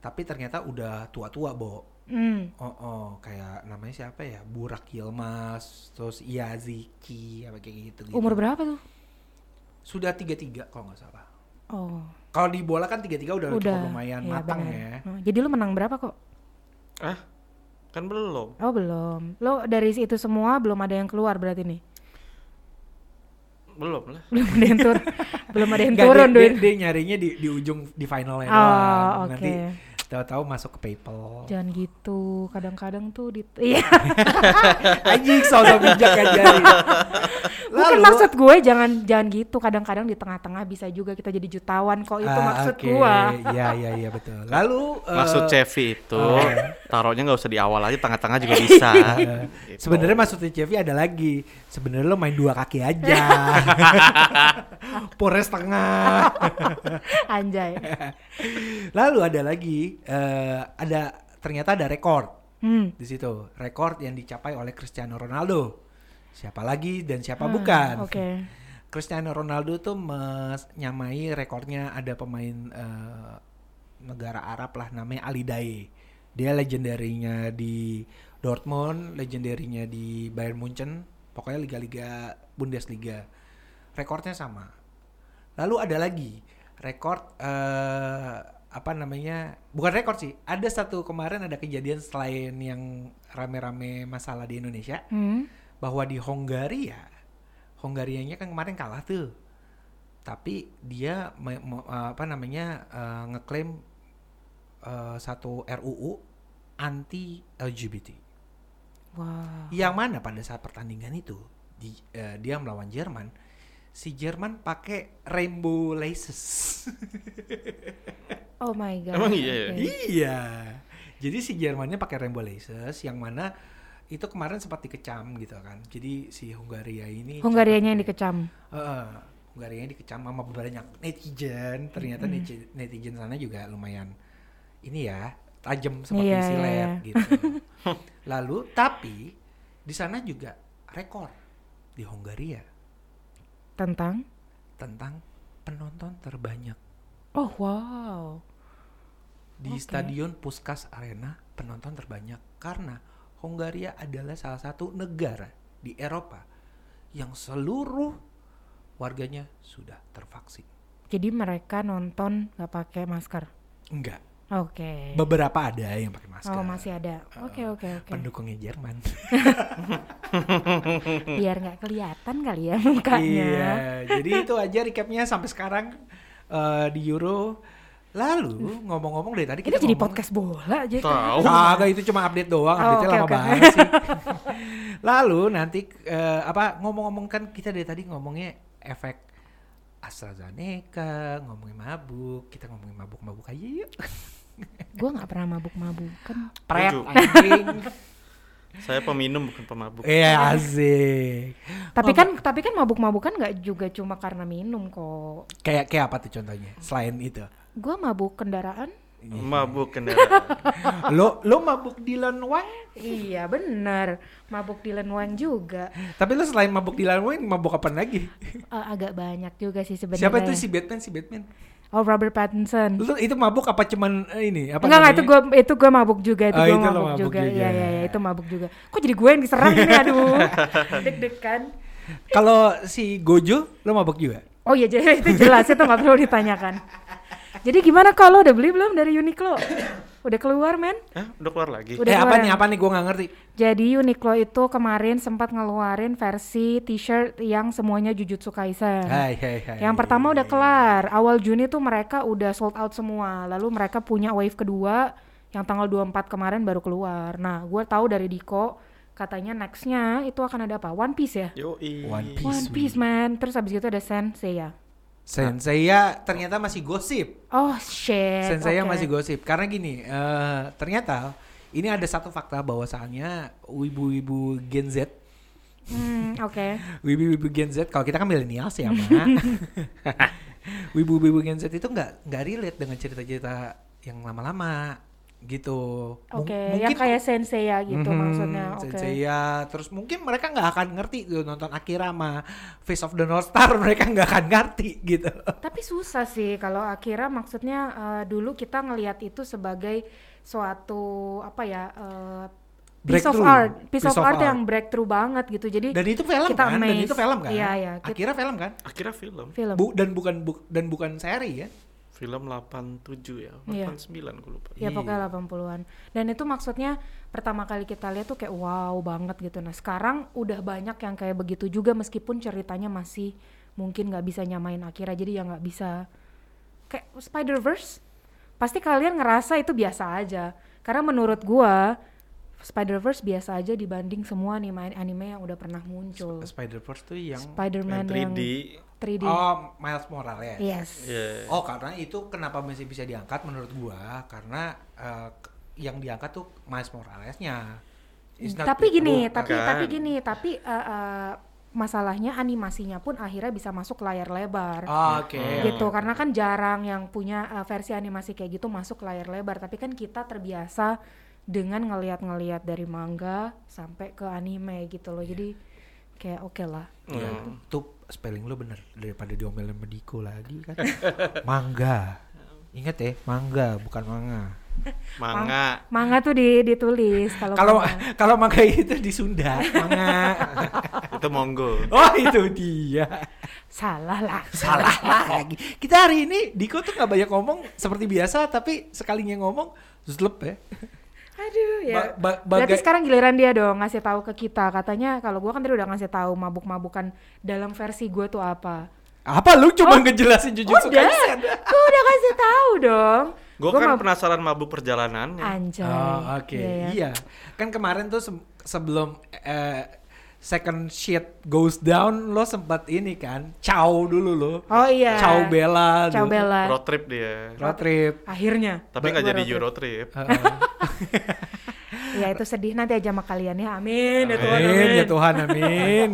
Speaker 1: tapi ternyata udah tua-tua Bo
Speaker 2: Hmm.
Speaker 1: Oh, oh, kayak namanya siapa ya? Burak Yilmaz, terus Yaziki, apa kayak gitu. gitu.
Speaker 2: Umur berapa tuh?
Speaker 1: Sudah 33 kalau nggak salah.
Speaker 2: Oh,
Speaker 1: Kalau di bola kan 33 udah,
Speaker 2: udah
Speaker 1: cukup lumayan
Speaker 2: Iya,
Speaker 1: matang
Speaker 2: benar.
Speaker 1: ya.
Speaker 2: Oh, Jadi lu menang berapa kok?
Speaker 3: ah, kan belum.
Speaker 2: Oh, belum. Lo dari itu semua belum ada yang keluar berarti nih.
Speaker 3: Belum lah.
Speaker 2: Belum ada yang turun. belum ada yang
Speaker 1: Nggak,
Speaker 2: turun,
Speaker 1: dia,
Speaker 2: Duin.
Speaker 1: dia, dia nyarinya di, di ujung di finalnya
Speaker 2: Oh,
Speaker 1: doang.
Speaker 2: oke.
Speaker 1: Nanti tahu-tahu masuk ke PayPal.
Speaker 2: Jangan gitu. Kadang-kadang tuh di Iya.
Speaker 1: Anjing, soal bijak aja.
Speaker 2: Bukan maksud gue jangan jangan gitu. Kadang-kadang di tengah-tengah bisa juga kita jadi jutawan kok. oh, Itu maksud
Speaker 1: gua.
Speaker 2: gue.
Speaker 1: Ah, Iya, iya, iya betul. Lalu eh,
Speaker 3: Maksud Cevi itu
Speaker 1: eh.
Speaker 3: taruhnya nggak usah di awal aja, tengah-tengah juga bisa.
Speaker 1: Eh,
Speaker 3: Gitu.
Speaker 1: Sebenarnya maksudnya Chevy ada lagi. Sebenarnya lo main dua kaki aja. Pores tengah.
Speaker 2: Anjay.
Speaker 1: Lalu ada lagi eh, ada ternyata ada rekor
Speaker 2: Hmm.
Speaker 1: di situ. Rekor yang dicapai oleh Cristiano Ronaldo. Siapa lagi dan siapa bukan?
Speaker 2: Hmm, Oke.
Speaker 1: Cristiano Ronaldo tuh menyamai rekornya ada pemain eh, negara Arab lah namanya Ali Daei. Dia legendarinya di Dortmund, legendarinya di Bayern Munchen, pokoknya liga-liga Bundesliga. Rekornya sama. Lalu ada lagi rekor eh, apa namanya? Bukan rekor sih. Ada satu kemarin ada kejadian selain yang rame-rame masalah di Indonesia
Speaker 2: Hmm.
Speaker 1: bahwa di Hongaria, Hongarianya kan kemarin kalah tuh, tapi dia me- me- apa namanya eh, ngeklaim eh, satu RUU anti LGBT,
Speaker 2: Wah.
Speaker 1: yang mana pada saat pertandingan itu di, eh, dia melawan Jerman, si Jerman pakai rainbow laces.
Speaker 2: Oh my god.
Speaker 3: Emang iya ya?
Speaker 2: Oke.
Speaker 1: Iya. Jadi si Jermannya pakai rainbow laces yang mana itu kemarin sempat dikecam gitu kan. Jadi si Hungaria ini
Speaker 2: Hungarianya yang dikecam.
Speaker 1: Heeh. Hungaria dikecam sama banyak netizen. Ternyata netizen, netizen sana juga lumayan ini ya, tajam seperti
Speaker 2: Iya,
Speaker 1: silet
Speaker 2: iya, iya.
Speaker 1: gitu. Lalu tapi di sana juga rekor di Hungaria
Speaker 2: Tentang.
Speaker 1: tentang penonton terbanyak
Speaker 2: Oh wow.
Speaker 1: di
Speaker 2: Oke.
Speaker 1: stadion Puskas Arena penonton terbanyak karena Hungaria adalah salah satu negara di Eropa yang seluruh warganya sudah tervaksin.
Speaker 2: Jadi mereka nonton nggak pakai masker.
Speaker 1: Enggak,
Speaker 2: Oke.
Speaker 1: beberapa ada yang pakai masker.
Speaker 2: Oh masih ada. Oke oke oke.
Speaker 1: Pendukungnya Jerman.
Speaker 2: Biar nggak kelihatan kali ya mukanya.
Speaker 1: iya, jadi itu aja recapnya sampai sekarang eh, di Euro. Lalu ngomong-ngomong dari tadi
Speaker 2: Ini
Speaker 1: kita
Speaker 2: jadi
Speaker 1: ngomong- Oh,
Speaker 2: podcast bola aja. kan?
Speaker 3: Tahu.
Speaker 1: Kagak itu cuma update doang,
Speaker 2: Oh,
Speaker 1: update-nya
Speaker 2: oke,
Speaker 1: lama
Speaker 2: oke.
Speaker 1: banget sih. Lalu nanti eh, apa ngomong-ngomong kan kita dari tadi ngomongnya efek AstraZeneca, ngomongin mabuk, kita ngomongin mabuk-mabuk aja yuk.
Speaker 2: Gue nggak pernah mabuk-mabukan.
Speaker 1: Prep
Speaker 3: Setuju.
Speaker 1: anjing.
Speaker 3: Saya peminum bukan pemabuk.
Speaker 1: Iya asik.
Speaker 2: Tapi kan tapi kan mabuk-mabukan nggak juga cuma karena minum kok.
Speaker 1: Kayak kayak apa tuh contohnya selain itu?
Speaker 2: Gue mabuk kendaraan.
Speaker 3: Mabuk kendaraan.
Speaker 1: Lo lo mabuk di Wang?
Speaker 2: iya bener. Mabuk di Lenwang juga.
Speaker 1: Tapi lo selain mabuk di Wang mabuk apa lagi?
Speaker 2: Eh, agak banyak juga sih sebenarnya.
Speaker 1: Siapa itu si Batman si Batman?
Speaker 2: Oh Robert Pattinson.
Speaker 1: Lu itu mabuk apa cuman eh, ini apa
Speaker 2: Enggak enggak itu
Speaker 1: namanya?
Speaker 2: gue itu gue mabuk juga itu
Speaker 1: Oh,
Speaker 2: gue
Speaker 1: itu lo
Speaker 2: mabuk,
Speaker 1: mabuk
Speaker 2: juga.
Speaker 1: juga.
Speaker 2: Iya iya iya itu mabuk juga. Kok jadi gue yang diserang ini aduh. Deg-degan.
Speaker 1: Kalau si Gojo lu mabuk juga?
Speaker 2: Oh iya jadi itu jelas itu nggak perlu ditanyakan. Jadi gimana kalau udah beli belum dari Uniqlo? Udah keluar men?
Speaker 3: Eh, udah keluar lagi.
Speaker 2: Udah
Speaker 1: eh apa
Speaker 2: keluar.
Speaker 1: nih apa nih gue nggak ngerti.
Speaker 2: Jadi Uniqlo itu kemarin sempat ngeluarin versi t-shirt yang semuanya Jujutsu Kaisen.
Speaker 1: Hai hai hai.
Speaker 2: Eh. Yang pertama udah kelar, awal Juni tuh mereka udah sold out semua. Lalu mereka punya wave kedua yang tanggal 24 kemarin baru keluar. Nah, gue tahu dari Diko katanya nextnya itu akan ada apa? One Piece ya?
Speaker 3: Yoi.
Speaker 1: One Piece.
Speaker 2: One Piece man. Terus habis itu ada Sensei ya.
Speaker 1: Senseiya ternyata masih gosip.
Speaker 2: Oh shit.
Speaker 1: Senseiya
Speaker 2: oke.
Speaker 1: masih gosip karena gini eh ternyata ini ada satu fakta bahwasannya wibu-wibu Gen Z,
Speaker 2: Hmm, oke.
Speaker 1: wibu-wibu Gen Z kalau kita kan milenials ya, Ma. wibu-wibu Gen Z itu nggak nggak relate dengan cerita-cerita yang lama-lama gitu. Mung-
Speaker 2: Oke, yang kayak Sensei ya gitu
Speaker 1: Mhm,
Speaker 2: maksudnya. Oke.
Speaker 1: Senseiya. terus mungkin mereka nggak akan ngerti gitu nonton Akira sama Face of the North Star mereka nggak akan ngerti gitu.
Speaker 2: Tapi susah sih kalau Akira maksudnya eh, dulu kita ngelihat itu sebagai suatu apa ya eh, piece of
Speaker 1: Breakthrough.
Speaker 2: art, piece, of, art, yang breakthrough banget gitu. Jadi
Speaker 1: Dan itu film
Speaker 2: Kita
Speaker 1: kan, dan
Speaker 2: amazed.
Speaker 1: itu film kan.
Speaker 2: Iya, iya, kita-
Speaker 1: Akira film kan.
Speaker 3: Akhirnya film.
Speaker 2: film.
Speaker 1: Bu, dan bukan bu- dan bukan seri ya.
Speaker 3: Film 87 ya.
Speaker 2: Iya.
Speaker 3: 89 gue lupa.
Speaker 2: Ya pokoknya 80-an. Dan itu maksudnya pertama kali kita lihat tuh kayak wow banget gitu. Nah, sekarang udah banyak yang kayak begitu juga meskipun ceritanya masih mungkin nggak bisa nyamain Akira. Jadi ya nggak bisa kayak Spider-Verse. Pasti kalian ngerasa itu biasa aja. Karena menurut gua Spider-Verse biasa aja dibanding semua anime anime yang udah pernah muncul.
Speaker 1: Spider-Verse tuh yang
Speaker 3: Yang
Speaker 2: Spider-Man yang
Speaker 3: 3D.
Speaker 2: 3D.
Speaker 1: oh, Miles Morales.
Speaker 2: Yes.
Speaker 3: Iya.
Speaker 1: Oh, karena itu kenapa masih bisa diangkat menurut gua karena eh, k- yang diangkat tuh Miles Moralesnya. It's not
Speaker 2: tapi
Speaker 1: the
Speaker 2: gini,
Speaker 1: book,
Speaker 2: tapi
Speaker 3: kan?
Speaker 2: tapi gini, tapi eh, eh, masalahnya animasinya pun akhirnya bisa masuk ke layar lebar.
Speaker 1: Ah, Oke.
Speaker 2: gitu karena kan jarang yang punya eh, versi animasi kayak gitu masuk ke layar lebar tapi kan kita terbiasa dengan ngelihat-ngelihat dari manga sampai ke anime gitu loh jadi kayak oke lah
Speaker 1: Ya,
Speaker 3: Hmm.
Speaker 1: tuh spelling lu bener daripada diomelin sama Diko lagi kan. mangga. Ingat ya, mangga bukan manga.
Speaker 3: Manga.
Speaker 2: manga tuh di- ditulis kalau
Speaker 1: Kalau
Speaker 2: manga.
Speaker 1: kalau mangga itu di Sunda, manga.
Speaker 3: Itu Monggo.
Speaker 1: oh, itu dia.
Speaker 2: salah lah
Speaker 1: salah lagi. Kita hari ini Diko tuh nggak banyak ngomong seperti biasa, tapi sekalinya ngomong zlep ya.
Speaker 2: aduh ya
Speaker 1: Ba- ba-
Speaker 2: berarti
Speaker 1: bagai-
Speaker 2: sekarang giliran dia dong ngasih tahu ke kita katanya kalau gua kan tadi udah ngasih tahu mabuk-mabukan dalam versi gue tuh apa
Speaker 1: Apa lu cuma
Speaker 2: Oh.
Speaker 1: ngejelasin Jujutsu
Speaker 2: udah
Speaker 1: Kaisen?
Speaker 2: gua udah kasih tahu dong
Speaker 3: Gue
Speaker 2: Gua
Speaker 3: kan
Speaker 2: mab-
Speaker 3: penasaran mabuk perjalanannya.
Speaker 2: anjay
Speaker 1: Oh, oke.
Speaker 2: Iya, ya.
Speaker 1: Iya. Kan kemarin tuh se- sebelum eh, second shit goes down lo sempat ini kan, ciao dulu lo.
Speaker 2: oh iya
Speaker 1: Ciao Bella.
Speaker 2: Ciao
Speaker 1: dulu.
Speaker 2: Bella.
Speaker 3: Road trip dia.
Speaker 1: Road trip.
Speaker 2: Akhirnya.
Speaker 3: Tapi
Speaker 2: Gua-
Speaker 3: nggak
Speaker 2: gua
Speaker 3: jadi
Speaker 2: road
Speaker 3: Euro trip.
Speaker 1: Heeh.
Speaker 2: trip. Ya itu sedih nanti aja sama kalian ya. Amin. Ya Tuhan,
Speaker 1: amin ya
Speaker 2: amin.
Speaker 1: Tuhan, amin.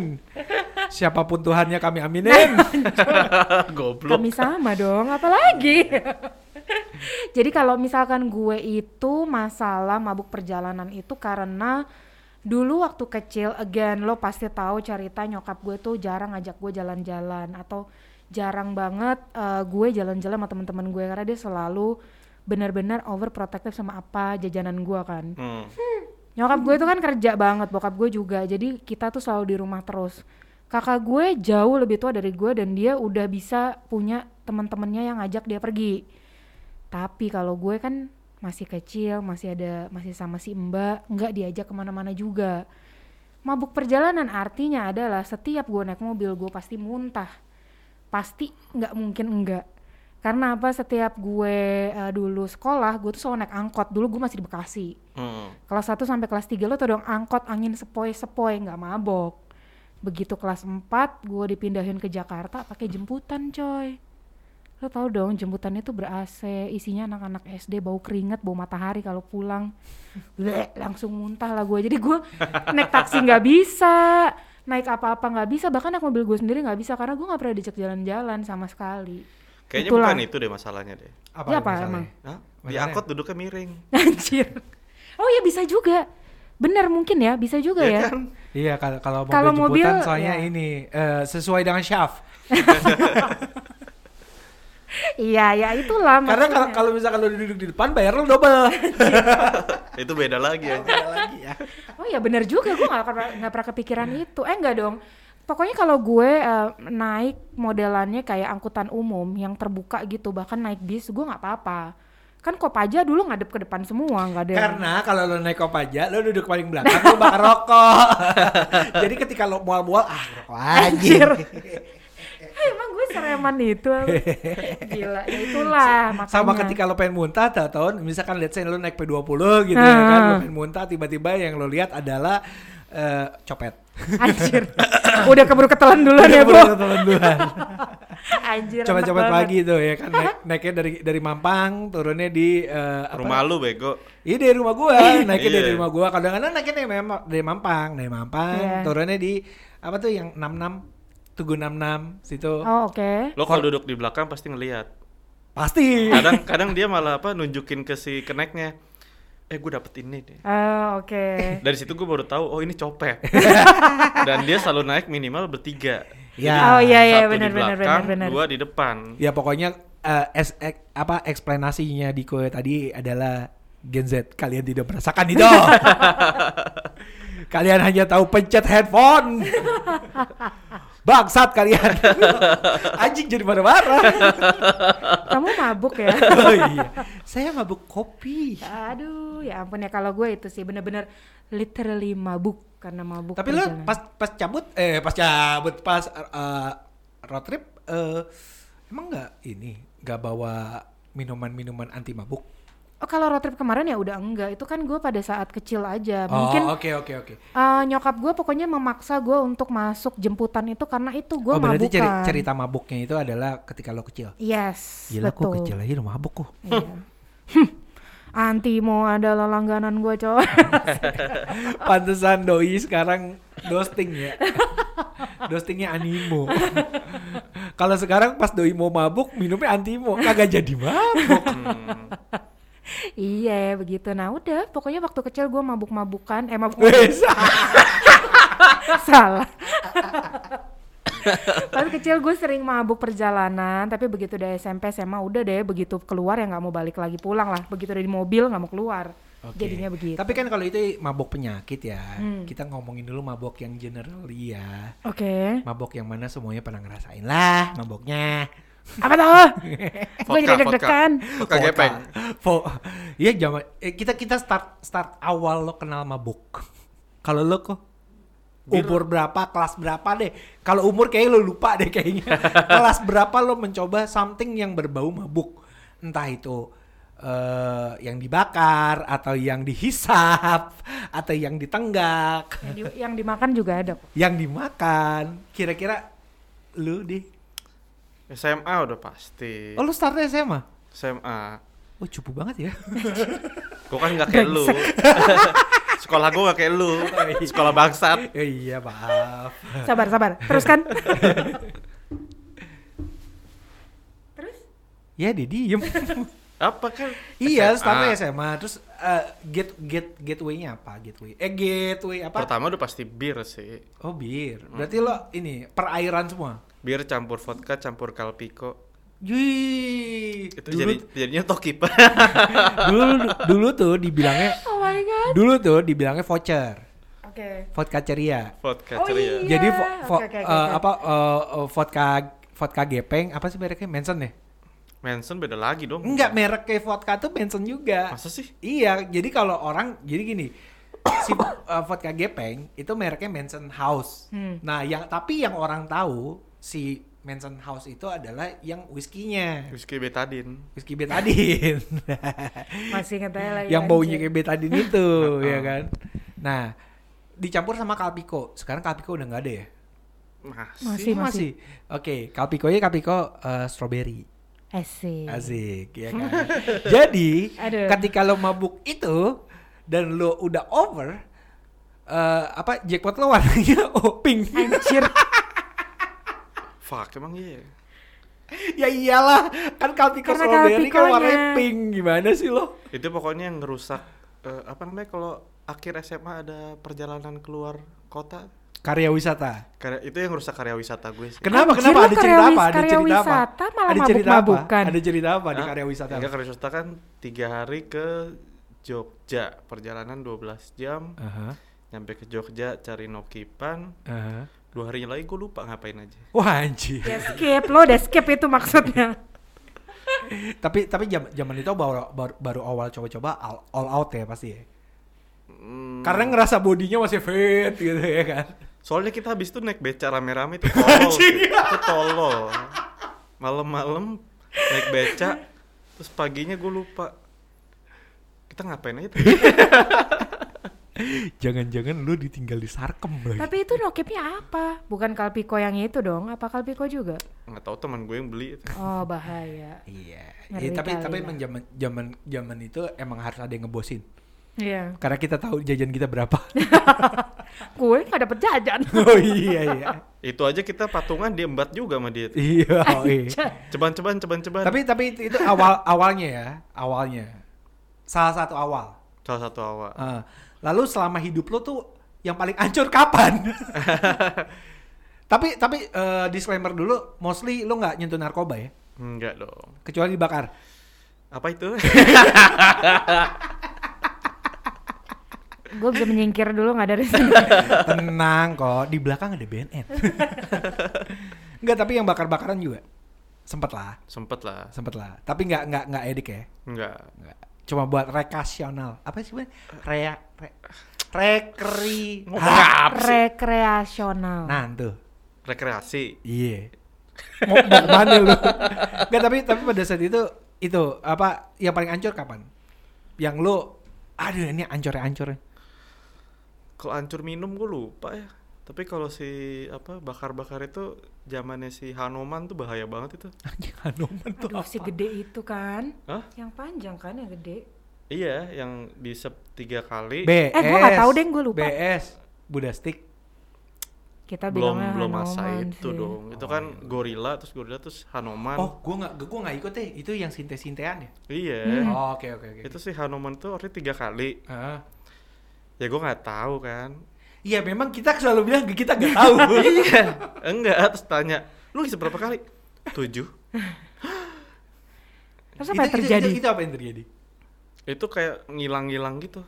Speaker 1: Siapapun Tuhannya kami aminin.
Speaker 2: Iya,
Speaker 3: Goblok.
Speaker 2: Kami sama dong, apalagi. jadi kalau misalkan gue itu masalah mabuk perjalanan itu karena dulu waktu kecil again lo pasti tahu cerita nyokap gue tuh jarang ngajak gue jalan-jalan atau jarang banget eh, gue jalan-jalan sama teman-teman gue karena dia selalu benar-benar overprotective sama apa jajanan gue kan.
Speaker 3: Hmm.
Speaker 2: Nyokap gue tuh kan kerja banget, bokap gue juga. Jadi kita tuh selalu di rumah terus. Kakak gue jauh lebih tua dari gue dan dia udah bisa punya teman-temannya yang ngajak dia pergi. Tapi kalau gue kan masih kecil, masih ada masih sama si Mbak, nggak diajak kemana-mana juga. Mabuk perjalanan artinya adalah setiap gue naik mobil gue pasti muntah, pasti nggak mungkin enggak. Karena apa? Setiap gue eh, dulu sekolah, gue tuh selalu naik angkot. Dulu gue masih di Bekasi.
Speaker 3: Hmm.
Speaker 2: Kelas 1 sampai kelas 3 lo tau dong angkot angin sepoi-sepoi nggak mabok. Begitu kelas 4 gue dipindahin ke Jakarta pakai jemputan coy. Lo tau dong jemputannya tuh ber-AC, isinya anak-anak SD bau keringat, bau matahari kalau pulang. Bleh, langsung muntah lah gue. Jadi gue naik taksi nggak bisa, naik apa-apa nggak bisa, bahkan naik mobil gue sendiri nggak bisa karena gue nggak pernah diajak jalan-jalan sama sekali.
Speaker 3: Kayaknya
Speaker 2: Itulah.
Speaker 3: bukan itu deh masalahnya deh.
Speaker 1: Apa
Speaker 2: Ya,
Speaker 1: lu
Speaker 2: apa
Speaker 1: masalahnya?
Speaker 2: emang?
Speaker 3: Hah?
Speaker 1: Masalahnya
Speaker 3: Diangkut duduknya miring.
Speaker 2: Anjir. Oh ya bisa juga. Benar mungkin ya, bisa juga
Speaker 3: Iya
Speaker 2: ya.
Speaker 3: kan?
Speaker 1: Iya kalau kalau mobil
Speaker 2: Kalau mobil, iya.
Speaker 1: jemputan soalnya
Speaker 2: ya.
Speaker 1: ini eh, sesuai dengan syaf.
Speaker 2: Iya, ya itulah
Speaker 1: Karena kalau
Speaker 2: maksudnya.
Speaker 1: kalau misalkan lo duduk di depan bayar lo double.
Speaker 3: itu beda lagi ya
Speaker 1: Ada lagi ya.
Speaker 2: Oh ya bener juga, gue gak, pernah- nggak pernah kepikiran
Speaker 1: Iya.
Speaker 2: itu. Eh enggak dong, pokoknya kalau gue eh, naik modelannya kayak angkutan umum yang terbuka gitu, bahkan naik bis gue gak apa-apa. Kan Kopaja dulu ngadep ke depan semua, nggak ada yang-
Speaker 1: Karena kalau lo naik kopaja, lo duduk paling belakang, lo bakar rokok. Jadi ketika lo mual-mual, ah rokok aja.
Speaker 2: Anjir. Eh, emang gue sereman itu apa? Gila, ya itulah makanya.
Speaker 1: Sama ketika lo pengen muntah, tau tahun misalkan let's say lo naik P20 gitu ya kan, lo
Speaker 2: Ah.
Speaker 1: pengen muntah, tiba-tiba yang lo lihat adalah eh, copet.
Speaker 2: Anjir, udah keburu ketelan duluan ya
Speaker 1: Baru
Speaker 2: bu
Speaker 1: ketelan duluan.
Speaker 2: Anjir, enak
Speaker 1: Copet-copet
Speaker 2: banget.
Speaker 1: pagi tuh ya kan, naik- naiknya dari dari Mampang, turunnya di eh, apa?
Speaker 3: rumah lu bego
Speaker 1: Iya dari rumah gua, naiknya dari
Speaker 3: Iya.
Speaker 1: rumah gua. Kadang-kadang naiknya dari, Mem- dari Mampang, dari Mampang,
Speaker 2: Iya.
Speaker 1: turunnya di apa tuh yang 66 Tugu 66 situ.
Speaker 2: Oh oke,
Speaker 3: lo kalau duduk di belakang pasti ngelihat
Speaker 1: Pasti.
Speaker 2: Iya.
Speaker 3: kadang kadang dia malah apa nunjukin ke si keneknya eh gue dapet ini deh
Speaker 2: Oh, oke.
Speaker 3: dari situ gue baru tahu oh ini copet dan dia selalu naik minimal bertiga
Speaker 2: Oh iya iya
Speaker 3: satu
Speaker 2: benar
Speaker 3: di
Speaker 2: benar benar
Speaker 3: belakang
Speaker 2: benar.
Speaker 3: dua di depan
Speaker 1: Ya pokoknya eh, es, ek- apa eksplanasinya Diko tadi adalah Gen Z kalian tidak merasakan itu. kalian hanya tahu pencet headphone. Bangsat kalian. Anjing jadi marah-marah.
Speaker 2: Kamu mabuk ya?
Speaker 1: oh, iya. Saya mabuk kopi.
Speaker 2: Aduh, ya ampun ya kalau gue itu sih bener-bener literally mabuk karena mabuk.
Speaker 1: Tapi lu
Speaker 2: perjalanan.
Speaker 1: pas pas cabut eh pas cabut pas eh, road trip eh emang nggak ini nggak bawa minuman-minuman anti mabuk?
Speaker 2: Oh kalau road trip kemarin ya udah enggak. Itu kan gue pada saat kecil aja. Mungkin
Speaker 1: oh oke oke oke.
Speaker 2: eh, nyokap gue pokoknya memaksa gue untuk masuk jemputan itu karena itu gue
Speaker 1: Oh berarti ceri-
Speaker 2: mabukan.
Speaker 1: cerita mabuknya itu adalah ketika lo kecil.
Speaker 2: Yes,
Speaker 1: Gila
Speaker 2: betul.
Speaker 1: kok kecil aja udah mabuk kok.
Speaker 2: Iya. Hmm, Antimo adalah langganan gue coy.
Speaker 1: Pantesan doi sekarang dosting ya. Dostingnya animo. Kalau sekarang pas doi mau mabuk minumnya antimo, kagak jadi mabuk.
Speaker 3: Hmm.
Speaker 2: iya begitu. Nah udah, pokoknya waktu kecil gue mabuk-mabukan, eh mabuk
Speaker 1: Wes.
Speaker 2: salah. Pas kecil gue sering mabuk perjalanan, tapi begitu udah SMP SMA udah deh begitu keluar ya nggak mau balik lagi pulang lah. Begitu udah di mobil nggak mau keluar.
Speaker 1: Oke.
Speaker 2: Jadinya begitu.
Speaker 1: Tapi kan kalau itu mabok penyakit ya.
Speaker 2: Hmm.
Speaker 1: Kita ngomongin dulu mabok yang general ya.
Speaker 2: Oke.
Speaker 1: Mabok yang mana semuanya pernah ngerasain lah maboknya.
Speaker 2: Apa tuh? gue
Speaker 3: Vodka,
Speaker 2: jadi deg-degan.
Speaker 3: vodka gepeng
Speaker 1: Vo- Iya zaman eh, kita kita start start awal lo kenal mabok. Kalau lo kok umur berapa, kelas berapa deh. Kalau umur kayaknya lo lupa deh kayaknya. kelas berapa lo mencoba something yang berbau mabuk. Entah itu eh, yang dibakar atau yang dihisap atau yang ditenggak.
Speaker 2: Yang, di- yang dimakan juga ada. kok.
Speaker 1: yang dimakan kira-kira lu deh
Speaker 3: SMA udah pasti
Speaker 1: oh lu startnya SMA
Speaker 3: SMA
Speaker 1: oh cupu banget ya
Speaker 3: gue kan nggak kayak lu sekolah gue nggak kayak lu sekolah bangsat
Speaker 1: Ya iya maaf
Speaker 2: Sabar sabar. kan? Teruskan. Terus?
Speaker 1: ya dia diem
Speaker 3: apa kan
Speaker 1: iya
Speaker 3: SMA.
Speaker 1: startnya SMA terus eh, get get gateway-nya apa gateway eh gateway apa
Speaker 3: pertama Hmm. udah pasti bir sih
Speaker 1: oh bir berarti lo ini perairan semua
Speaker 3: bir campur vodka campur kalpiko
Speaker 1: Yui.
Speaker 3: itu
Speaker 1: dulu,
Speaker 3: jadi jadinya tokipa
Speaker 1: dulu dulu tuh dibilangnya
Speaker 2: Oh my god.
Speaker 1: dulu tuh dibilangnya voucher
Speaker 2: Oke.
Speaker 1: vodka ceria
Speaker 3: vodka
Speaker 2: Oh,
Speaker 3: ceria
Speaker 2: Iya,
Speaker 1: Jadi vo- vo-
Speaker 2: oke, oke,
Speaker 1: eh,
Speaker 2: oke.
Speaker 1: apa eh, eh, vodka vodka gepeng apa sih mereknya Manson ya?
Speaker 3: Manson beda lagi dong
Speaker 1: Enggak, merek kayak vodka tuh Manson juga.
Speaker 3: masa sih
Speaker 1: Iya, jadi kalau orang jadi gini, si eh, vodka gepeng itu mereknya Manson House.
Speaker 2: Hmm.
Speaker 1: Nah, yang tapi yang orang tahu si Manson House itu adalah yang whiskinya.
Speaker 3: whisky betadin
Speaker 1: Whisky betadin.
Speaker 2: Masih ingat aja lagi.
Speaker 1: yang baunya
Speaker 2: anjir.
Speaker 1: kayak betadin itu, ya kan? Nah, dicampur sama Kalpiko. Sekarang Kalpiko udah nggak ada ya?
Speaker 2: Masih.
Speaker 3: masih
Speaker 1: masih. Oke, Kalpikonya Kalpiko eh, strawberry.
Speaker 2: Asik.
Speaker 1: Asik, ya kan. Jadi
Speaker 2: Aduh.
Speaker 1: ketika lo mabuk itu dan lo udah over, eh apa jackpot lo warnanya oh pink.
Speaker 2: Anjir.
Speaker 3: fuck emang iya ya?
Speaker 1: ya iyalah, kan kalpiko
Speaker 2: Karena
Speaker 1: strawberry kan
Speaker 2: kalpikonya.
Speaker 1: warnanya pink. Gimana sih lo?
Speaker 3: itu pokoknya yang ngerusak eh, apa namanya kalau akhir SMA ada perjalanan keluar kota
Speaker 1: Karya wisata.
Speaker 3: Karya, itu yang rusak karya wisata gue sih.
Speaker 1: Kenapa?
Speaker 2: Anjir,
Speaker 1: kenapa
Speaker 2: lu
Speaker 1: ada
Speaker 2: karya
Speaker 1: cerita
Speaker 2: wis-
Speaker 1: apa? Ada
Speaker 2: karya
Speaker 1: cerita
Speaker 2: wisata
Speaker 1: apa?
Speaker 2: malah
Speaker 1: Ada cerita apa?
Speaker 2: mabuk-mabukan.
Speaker 1: Ada cerita apa di
Speaker 3: Hah?
Speaker 1: karya wisata?
Speaker 3: Enggak, karya wisata kan tiga hari ke Jogja, perjalanan 12 jam,
Speaker 1: Aha,
Speaker 3: nyampe ke Jogja cari Nokipan,
Speaker 1: aha.
Speaker 3: dua hari lagi gue lupa ngapain aja.
Speaker 1: Wah anjir.
Speaker 2: Ya skip, lo udah skip itu maksudnya.
Speaker 1: tapi tapi jam- zaman itu baru baru, baru awal coba-coba all, all out ya pasti ya.
Speaker 3: Hmm,
Speaker 1: Karena ngerasa bodinya masih fit gitu ya kan.
Speaker 3: soalnya kita habis itu naik beca rame-rame itu tolol, sih. itu tolol. Malam-malam naik beca, terus paginya gue lupa. Kita ngapain aja tadi?
Speaker 1: Jangan-jangan lu ditinggal di sarkem lagi.
Speaker 2: Tapi itu nokipnya apa? Bukan kalpiko yang itu dong, apa kalpiko juga?
Speaker 3: nggak tahu teman gue yang beli.
Speaker 2: Oh bahaya.
Speaker 1: Iya.
Speaker 2: Ngeri
Speaker 1: Iya, tapi
Speaker 2: kali
Speaker 1: tapi
Speaker 2: lah.
Speaker 1: emang zaman zaman zaman itu emang harus ada yang ngebosin.
Speaker 2: Iya.
Speaker 1: Karena kita tahu jajan kita berapa.
Speaker 2: Gue nggak dapet jajan.
Speaker 1: oh iya iya.
Speaker 3: Itu aja kita patungan diembat juga sama dia.
Speaker 1: Iya. oh, iya.
Speaker 3: Ceban-ceban, ceban-ceban.
Speaker 1: tapi tapi itu, itu awal awalnya ya, awalnya. Salah satu awal.
Speaker 3: Salah satu awal.
Speaker 1: Ah, lalu selama hidup lo tuh yang paling ancur kapan? tapi tapi eh, disclaimer dulu, mostly lo nggak nyentuh narkoba ya,
Speaker 3: Enggak dong.
Speaker 1: kecuali dibakar.
Speaker 3: Apa itu?
Speaker 2: Gue bisa menyingkir dulu nggak dari sini.
Speaker 1: Tenang kok, di belakang ada BNN. Enggak, tapi yang bakar-bakaran juga sempet lah,
Speaker 3: Sempet lah.
Speaker 1: sempet lah. Tapi nggak nggak nggak edik ya.
Speaker 3: Enggak.
Speaker 1: Nggak. Cuma buat rekasional. Apa sih sebenarnya? Rea, re, rekri.
Speaker 3: Ngomong apa sih?
Speaker 2: Rekreasional.
Speaker 1: Nah tuh.
Speaker 3: Rekreasi.
Speaker 1: Iya. mau, mau kemana lu? Nggak, tapi tapi pada saat itu itu apa yang paling ancur kapan? Yang lu aduh ini ancurnya ancurnya.
Speaker 3: Kalau ancur minum gue lupa ya. Tapi kalau si apa bakar-bakar itu zamannya si Hanoman tuh bahaya banget itu.
Speaker 1: Anjing Hanoman tuh
Speaker 2: Aduh si
Speaker 1: apa?
Speaker 2: gede itu kan.
Speaker 3: Hah?
Speaker 2: Yang panjang kan yang gede.
Speaker 3: Iya, yang disep tiga kali.
Speaker 1: BS.
Speaker 2: Eh, gua nggak tahu, Deng, gua lupa.
Speaker 1: BS Budastik.
Speaker 2: Kita
Speaker 3: belum
Speaker 2: bilangnya
Speaker 3: belum masa
Speaker 2: Hanoman
Speaker 3: itu
Speaker 2: sih.
Speaker 3: dong. Itu kan gorila terus gorila terus Hanoman.
Speaker 1: Oh, gua nggak gua nggak ikut deh. Itu yang sinte-sintean ya.
Speaker 2: Hmm.
Speaker 3: Iya.
Speaker 1: Oh, oke oke oke.
Speaker 3: Itu si Hanoman tuh artinya tiga kali.
Speaker 1: Ah.
Speaker 3: Ya gue nggak tahu kan.
Speaker 1: Iya, memang kita selalu bilang kita nggak tahu.
Speaker 3: Iya. Enggak, terus tanya, "Lu ngisep berapa kali?" Tujuh.
Speaker 2: Terus apa yang
Speaker 1: Itu- itu-
Speaker 2: terjadi?
Speaker 1: Itu, itu apa yang terjadi?
Speaker 3: Itu kayak ngilang-ngilang gitu.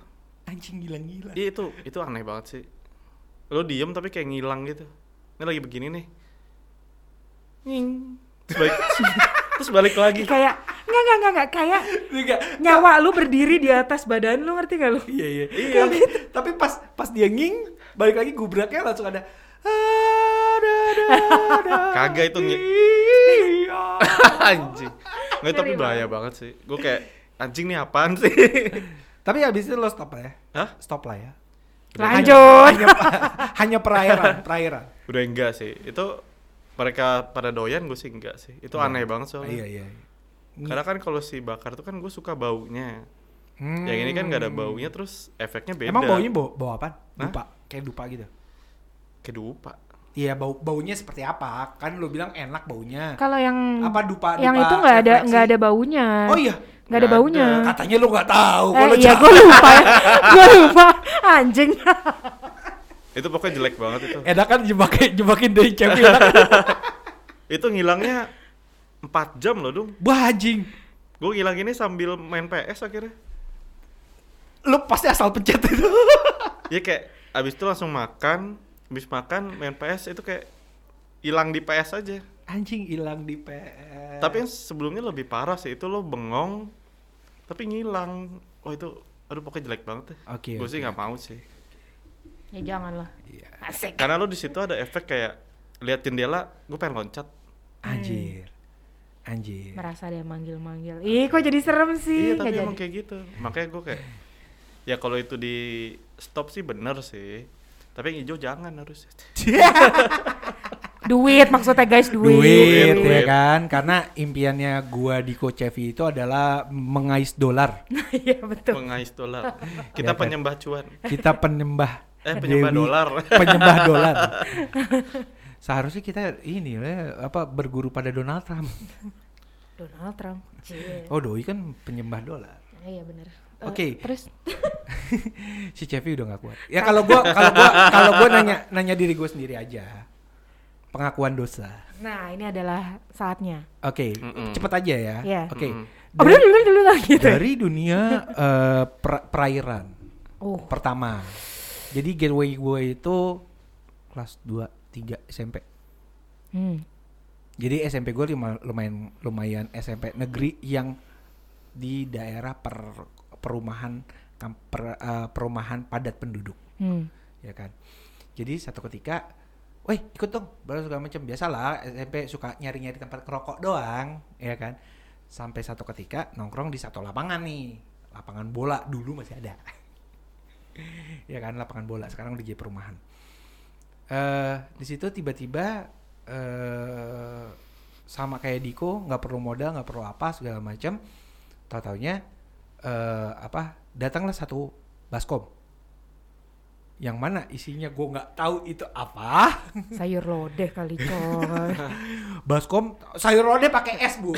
Speaker 1: Anjing gila-gila.
Speaker 3: Iya itu itu aneh banget sih. Lo diem tapi kayak ngilang gitu. Ini lagi begini nih. Nying. Terus balik, terus balik lagi.
Speaker 2: Kayak nggak nggak nggak nggak kayak
Speaker 1: Enggak.
Speaker 2: nyawa lu berdiri di atas badan lu ngerti gak lu?
Speaker 1: Iya iya. Tapi, tapi pas pas dia nging balik lagi gubraknya langsung ada ada ada ada.
Speaker 3: Kagak itu nyi-
Speaker 1: Iya.
Speaker 3: anjing. Nggak, tapi
Speaker 2: Ngeri
Speaker 3: bahaya banget sih. Gue kayak anjing nih apaan sih?
Speaker 1: tapi habis itu lo stop lah ya.
Speaker 3: Hah?
Speaker 1: Stop lah ya.
Speaker 2: Lanjut.
Speaker 1: Hanya, hanya perairan, perairan.
Speaker 3: Udah enggak sih. Itu mereka pada doyan gue sih enggak sih. Itu aneh banget soalnya.
Speaker 1: Iya iya.
Speaker 3: Karena kan kalau si bakar tuh kan gue suka baunya.
Speaker 1: Hmm.
Speaker 3: Yang ini kan nggak ada baunya terus efeknya beda.
Speaker 1: Emang baunya bau, bau apa?
Speaker 3: Hah?
Speaker 1: Dupa, kayak dupa gitu.
Speaker 3: kayak dupa.
Speaker 1: Iya, bau baunya seperti apa? Kan lo bilang enak baunya.
Speaker 2: Kalau yang
Speaker 1: Apa dupa-
Speaker 2: yang
Speaker 1: dupa
Speaker 2: itu nggak ada
Speaker 1: refleksi?
Speaker 2: nggak ada baunya.
Speaker 1: Oh iya.
Speaker 2: Nggak ada
Speaker 3: Nggak
Speaker 2: baunya.
Speaker 3: ada.
Speaker 1: Katanya lo nggak tahu.
Speaker 2: Eh,
Speaker 1: kalau
Speaker 2: iya
Speaker 1: jahat.
Speaker 2: gue lupa ya. gue lupa anjing.
Speaker 3: Itu pokoknya jelek banget itu.
Speaker 1: Enak kan jebakin jebakin dari cewek. enak.
Speaker 3: itu ngilangnya 4 jam loh, Dung.
Speaker 1: Wah anjing.
Speaker 3: Gue ngilang ini sambil main PS akhirnya.
Speaker 1: Lo pasti asal pencet itu.
Speaker 3: Ya kayak abis itu langsung makan, abis makan main PS itu kayak hilang di PS
Speaker 2: Iya.
Speaker 3: aja.
Speaker 1: Anjing hilang di PS.
Speaker 3: Tapi yang sebelumnya lebih parah sih itu lo bengong tapi ngilang. Oh itu aduh pokoknya jelek banget deh.
Speaker 1: Oke,
Speaker 3: Gue
Speaker 1: oke.
Speaker 3: sih nggak mau sih.
Speaker 2: ya janganlah.
Speaker 1: Iya.
Speaker 2: Asik.
Speaker 3: Karena lo di situ ada efek kayak lihat jendela, gue pengen loncat.
Speaker 1: anjir. Anjir.
Speaker 2: Merasa ada yang manggil-manggil. Ih kok jadi serem sih.
Speaker 3: Iya tapi
Speaker 2: Nggak
Speaker 3: emang
Speaker 2: jadi.
Speaker 3: kayak gitu. Makanya gue kayak ya kalau itu di stop sih bener sih. Tapi yang hijau jangan harus.
Speaker 2: Duit maksudnya guys duit. Iya,
Speaker 1: duit, ya
Speaker 3: duit.
Speaker 1: kan karena impiannya gua di Kocevi itu adalah mengais dolar
Speaker 2: Iya betul.
Speaker 3: Mengais dolar.
Speaker 1: Ya
Speaker 3: Kita
Speaker 1: kan?
Speaker 3: penyembah cuan.
Speaker 1: kita penyembah
Speaker 3: Eh, penyembah
Speaker 1: Dewi-
Speaker 3: dolar.
Speaker 1: penyembah dolar seharusnya kita ini lah, apa berguru pada Donald Trump
Speaker 2: Donald Trump. Cie.
Speaker 1: oh doi kan penyembah dolar
Speaker 2: Iya bener. Eh,
Speaker 1: Oh. Oke.
Speaker 2: Terus
Speaker 1: si Cevi udah nggak kuat. Ya kalau gua kalau gua kalau gua nanya nanya diri gua sendiri aja. Pengakuan dosa.
Speaker 2: nah ini adalah saatnya.
Speaker 1: Oke,
Speaker 3: Mm-mm.
Speaker 1: cepet aja ya.
Speaker 2: Iya.
Speaker 1: Oke.
Speaker 3: Mm-mm.
Speaker 2: Oh,
Speaker 1: Dari,
Speaker 2: dulu dulu dulu lah gitu.
Speaker 1: dari dunia eh, per- perairan
Speaker 2: Oh,
Speaker 1: pertama. Jadi gateway gue itu kelas 2 3 SMP.
Speaker 2: hmm.
Speaker 1: Jadi SMP gue lumayan lumayan SMP negeri yang di daerah per perumahan kam- per- eh, perumahan padat penduduk.
Speaker 2: Hmm.
Speaker 1: ya kan jadi satu ketika weh ikut dong baru segala macam biasalah SMP suka nyari-nyari tempat ngerokok doang ya kan sampai satu ketika nongkrong di satu lapangan nih lapangan bola dulu masih ada ya kan lapangan bola sekarang udah jadi perumahan eh di situ tiba-tiba eh sama kayak Diko nggak perlu modal nggak perlu apa segala macam tau taunya eh apa datanglah satu baskom yang mana isinya gue nggak tahu itu apa
Speaker 2: Sayur lodeh kali coy.
Speaker 1: baskom sayur lodeh pakai es bu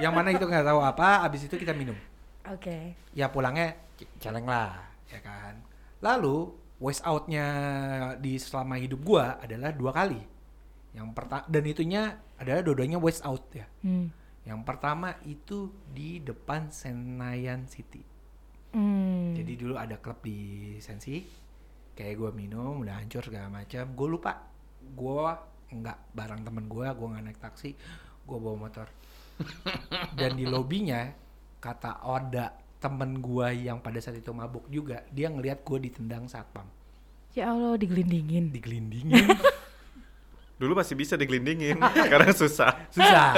Speaker 1: yang mana itu nggak tahu apa abis itu kita minum
Speaker 2: Oke.
Speaker 1: ya pulangnya c- celeng lah ya kan lalu waste outnya di selama hidup gua adalah dua kali yang pertama dan itunya adalah dua-duanya waste out ya
Speaker 2: Hmm.
Speaker 1: yang pertama itu di depan Senayan City
Speaker 2: Hmm.
Speaker 1: jadi dulu ada klub di Sensi kayak gue minum udah hancur segala macam gue lupa gue nggak barang temen gue gue nggak naik taksi gue bawa motor dan di lobinya kata Oda temen gue yang pada saat itu mabuk juga dia ngelihat gue ditendang satpam
Speaker 2: ya Allah digelindingin.
Speaker 1: digelindingin
Speaker 3: Dulu masih bisa digelindingin, sekarang susah.
Speaker 1: susah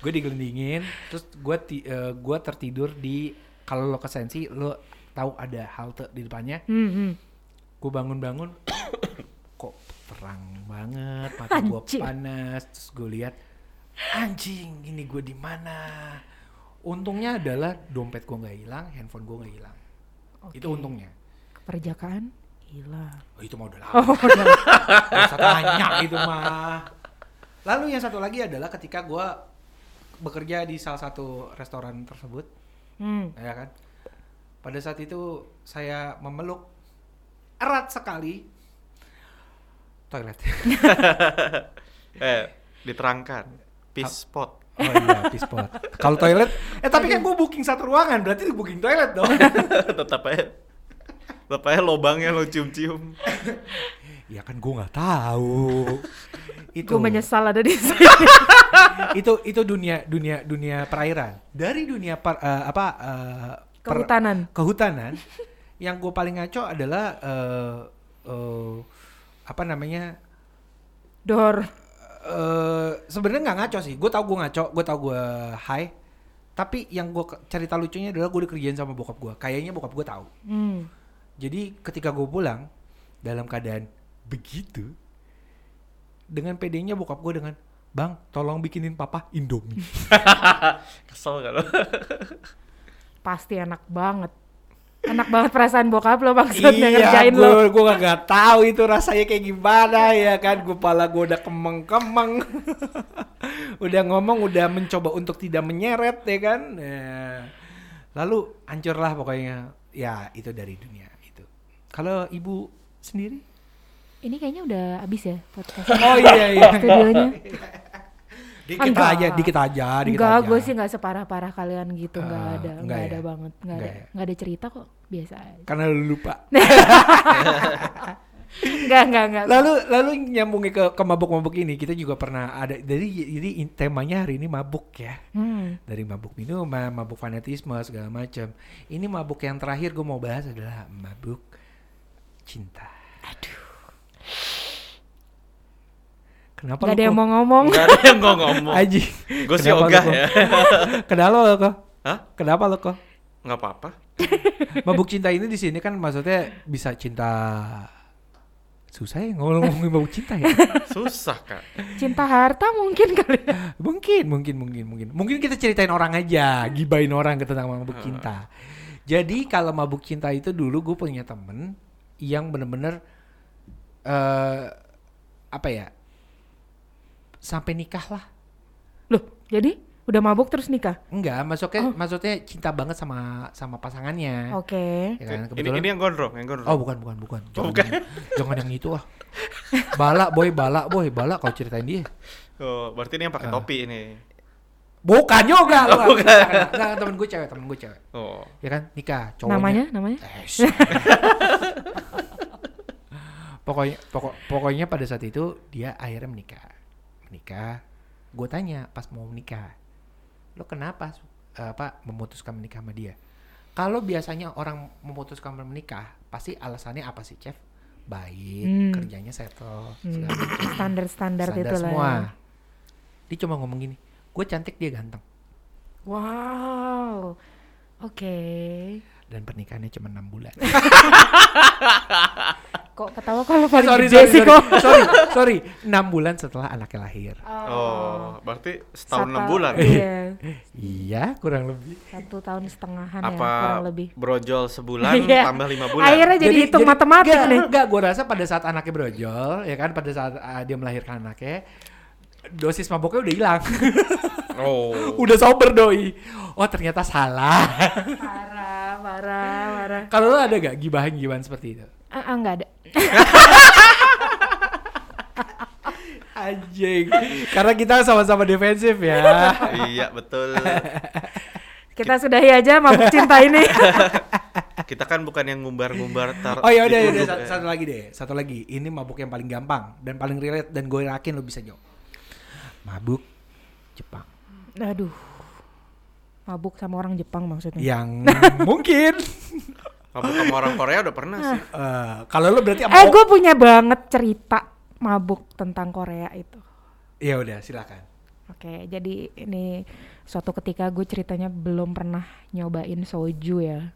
Speaker 1: gue digelindingin terus gue ti- eh, gua tertidur di kalau lo ke Sensi lo tahu ada halte di depannya
Speaker 2: Hmm, hmm.
Speaker 1: gue bangun-bangun kok terang banget mata gue
Speaker 2: Anjing.
Speaker 1: panas terus gue lihat anjing ini gue di mana untungnya adalah dompet gue nggak hilang handphone gue nggak hilang itu
Speaker 2: Oke.
Speaker 1: untungnya
Speaker 2: Keperjakaan hilang.
Speaker 1: oh, itu mah udah lama
Speaker 2: Oh, udah.
Speaker 1: Gak usah tanya itu mah lalu yang satu lagi adalah ketika gue bekerja di salah satu restoran tersebut
Speaker 2: Hmm.
Speaker 1: ya kan pada saat itu saya memeluk erat sekali toilet
Speaker 3: Eh, diterangkan. Peace spot.
Speaker 1: Oh iya, pispot. Kalau toilet, eh tapi kan gue booking satu ruangan, berarti booking toilet dong.
Speaker 3: tetap aja. Tetap aja lobangnya lo cium-cium.
Speaker 1: ya kan gue nggak tahu. itu
Speaker 2: Gue menyesal ada di sini.
Speaker 1: itu itu dunia dunia dunia perairan. Dari dunia par- eh, apa eh, per-
Speaker 2: Kehutanan.
Speaker 1: kehutanan, yang gue paling ngaco adalah eh, eh, apa namanya
Speaker 2: Dor.
Speaker 1: eh sebenarnya nggak ngaco sih. Gue tau gue ngaco, gue tau gue high. Tapi yang gue cerita lucunya adalah gue dikerjain sama bokap gue. Kayaknya bokap gue tahu.
Speaker 2: Hmm.
Speaker 1: Jadi ketika gue pulang dalam keadaan begitu, dengan pedenya bokap gue dengan Bang, tolong bikinin papa Indomie.
Speaker 3: Kesel kan lo?
Speaker 2: Pasti enak banget. Enak banget perasaan bokap lo
Speaker 1: Iya,
Speaker 2: maksudnya ngerjain
Speaker 1: gue
Speaker 2: lo.
Speaker 1: gue gak tahu itu rasanya kayak gimana ya kan. Gue pala gue udah kemeng-kemeng. udah ngomong, udah mencoba untuk tidak menyeret ya kan. Nah, Lalu hancurlah pokoknya. Ya itu dari dunia itu. Kalau ibu sendiri?
Speaker 2: Ini kayaknya udah abis ya podcast
Speaker 1: Oh iya iya.
Speaker 2: studionya.
Speaker 1: Dikit
Speaker 2: Enggak.
Speaker 1: aja, dikit aja, dikit
Speaker 2: Enggak,
Speaker 1: aja.
Speaker 2: gue sih nggak separah-parah kalian gitu, nggak
Speaker 1: Ah,
Speaker 2: ada,
Speaker 1: enggak
Speaker 2: nggak
Speaker 1: ya?
Speaker 2: ada banget, nggak ada,
Speaker 1: Enggak ya?
Speaker 2: nggak ada cerita kok, biasa aja.
Speaker 1: Karena lu lupa.
Speaker 2: Nah. Enggak, enggak, enggak.
Speaker 1: Lalu lalu nyambungnya ke ke mabuk-mabuk ini, kita juga pernah ada jadi jadi in- temanya hari ini mabuk ya.
Speaker 2: Hmm,
Speaker 1: Dari mabuk minuman, mabuk fanatisme segala macam. Ini mabuk yang terakhir gue mau bahas adalah mabuk cinta. Aduh. Kenapa
Speaker 2: nggak
Speaker 1: lu
Speaker 2: ada yang
Speaker 1: kok-
Speaker 2: mau ngomong.
Speaker 3: Gak ada yang gua ngomong.
Speaker 1: Aji.
Speaker 3: Gue sih
Speaker 1: Kenapa lu
Speaker 3: ogah
Speaker 1: kok-
Speaker 3: ya.
Speaker 1: Kenapa lo kok?
Speaker 3: Hah?
Speaker 1: Kenapa lo kok?
Speaker 3: Gak apa-apa.
Speaker 1: Mabuk cinta ini di sini kan maksudnya bisa cinta susah ya ngomong ngomongin mabuk cinta ya.
Speaker 3: Susah kak.
Speaker 2: Cinta harta mungkin kali. ya.
Speaker 1: Mungkin, mungkin, mungkin, mungkin. Mungkin kita ceritain orang aja, gibain orang ke tentang mabuk cinta. Jadi kalau mabuk cinta itu dulu gue punya temen yang bener-bener eh apa ya sampai nikah lah.
Speaker 2: Loh, jadi Udah mabuk terus nikah?
Speaker 1: Enggak, maksudnya maksudnya cinta banget sama sama pasangannya.
Speaker 2: Oh. Oke.
Speaker 1: Ya kan?
Speaker 3: ini,
Speaker 1: Kebetulan.
Speaker 3: ini yang gondrong, yang gondrong.
Speaker 1: Oh bukan bukan bukan. Jangan, Yang, jangan yang itu ah. Balak boy balak boy balak kau ceritain dia.
Speaker 3: Oh, berarti ini yang pakai
Speaker 1: Ah.
Speaker 3: topi ini.
Speaker 1: Bukan juga
Speaker 3: Oh,
Speaker 1: lu.
Speaker 3: bukan.
Speaker 1: Enggak, temen gue cewek, temen gue cewek.
Speaker 3: Oh.
Speaker 1: Ya kan nikah cowoknya.
Speaker 2: Namanya? Namanya?
Speaker 1: Eh, s- pokoknya pokok, pokoknya pada saat itu dia akhirnya menikah. Menikah. Gue tanya pas mau menikah, lo kenapa su- apa memutuskan menikah sama dia? Kalau biasanya orang memutuskan menikah, pasti alasannya apa sih, Chef? Baik,
Speaker 2: Hmm.
Speaker 1: kerjanya settle,
Speaker 2: Hmm,
Speaker 1: segala macam.
Speaker 2: Standar-standar
Speaker 1: standar
Speaker 2: gitu lah.
Speaker 1: semua.
Speaker 2: ya.
Speaker 1: Dia cuma ngomong gini, gue cantik dia ganteng.
Speaker 2: Wow. Oke.
Speaker 1: Dan pernikahannya cuma enam bulan.
Speaker 2: Kok ketawa kalau paling
Speaker 1: sorry,
Speaker 2: gede
Speaker 1: sorry,
Speaker 2: sih
Speaker 1: sorry,
Speaker 2: kok?
Speaker 1: sorry, sorry. Enam bulan setelah anaknya lahir.
Speaker 3: Oh, berarti
Speaker 2: Satu-
Speaker 3: setahun enam bulan.
Speaker 2: Iya.
Speaker 1: Iya, kurang lebih.
Speaker 2: Satu tahun setengahan ya
Speaker 3: Apa
Speaker 2: kurang lebih.
Speaker 3: brojol sebulan
Speaker 2: Iya.
Speaker 3: tambah lima bulan?
Speaker 2: Akhirnya jadi, hitung matematik
Speaker 1: enggak,
Speaker 2: nih.
Speaker 1: Enggak, gue rasa pada saat anaknya brojol, ya kan, pada saat ah, dia melahirkan anaknya, dosis maboknya udah hilang.
Speaker 3: Oh.
Speaker 1: udah sober doi. Oh ternyata salah.
Speaker 2: Parah, parah, parah.
Speaker 1: Kalau lo ada gak gibahan-gibahan seperti itu?
Speaker 2: Ah, ah, enggak ada.
Speaker 1: Anjing. Karena kita sama-sama defensif ya.
Speaker 3: iya, betul.
Speaker 2: Kita sudahi aja mabuk cinta ini.
Speaker 3: Kita kan bukan yang ngumbar-ngumbar tar.
Speaker 1: Oh ya udah udah
Speaker 3: dituduh, eh.
Speaker 1: satu, satu lagi deh, satu lagi. Ini mabuk yang paling gampang dan paling relate dan gue yakin lo bisa jawab. Mabuk Jepang.
Speaker 2: Aduh. Mabuk sama orang Jepang maksudnya.
Speaker 1: Yang mungkin
Speaker 3: Mabuk sama orang Korea udah pernah sih.
Speaker 1: eh, kalau lo berarti
Speaker 2: Eh, gue punya banget cerita mabuk tentang Korea itu.
Speaker 1: Ya udah, silakan.
Speaker 2: Oke, jadi ini suatu ketika gue ceritanya belum pernah nyobain soju ya.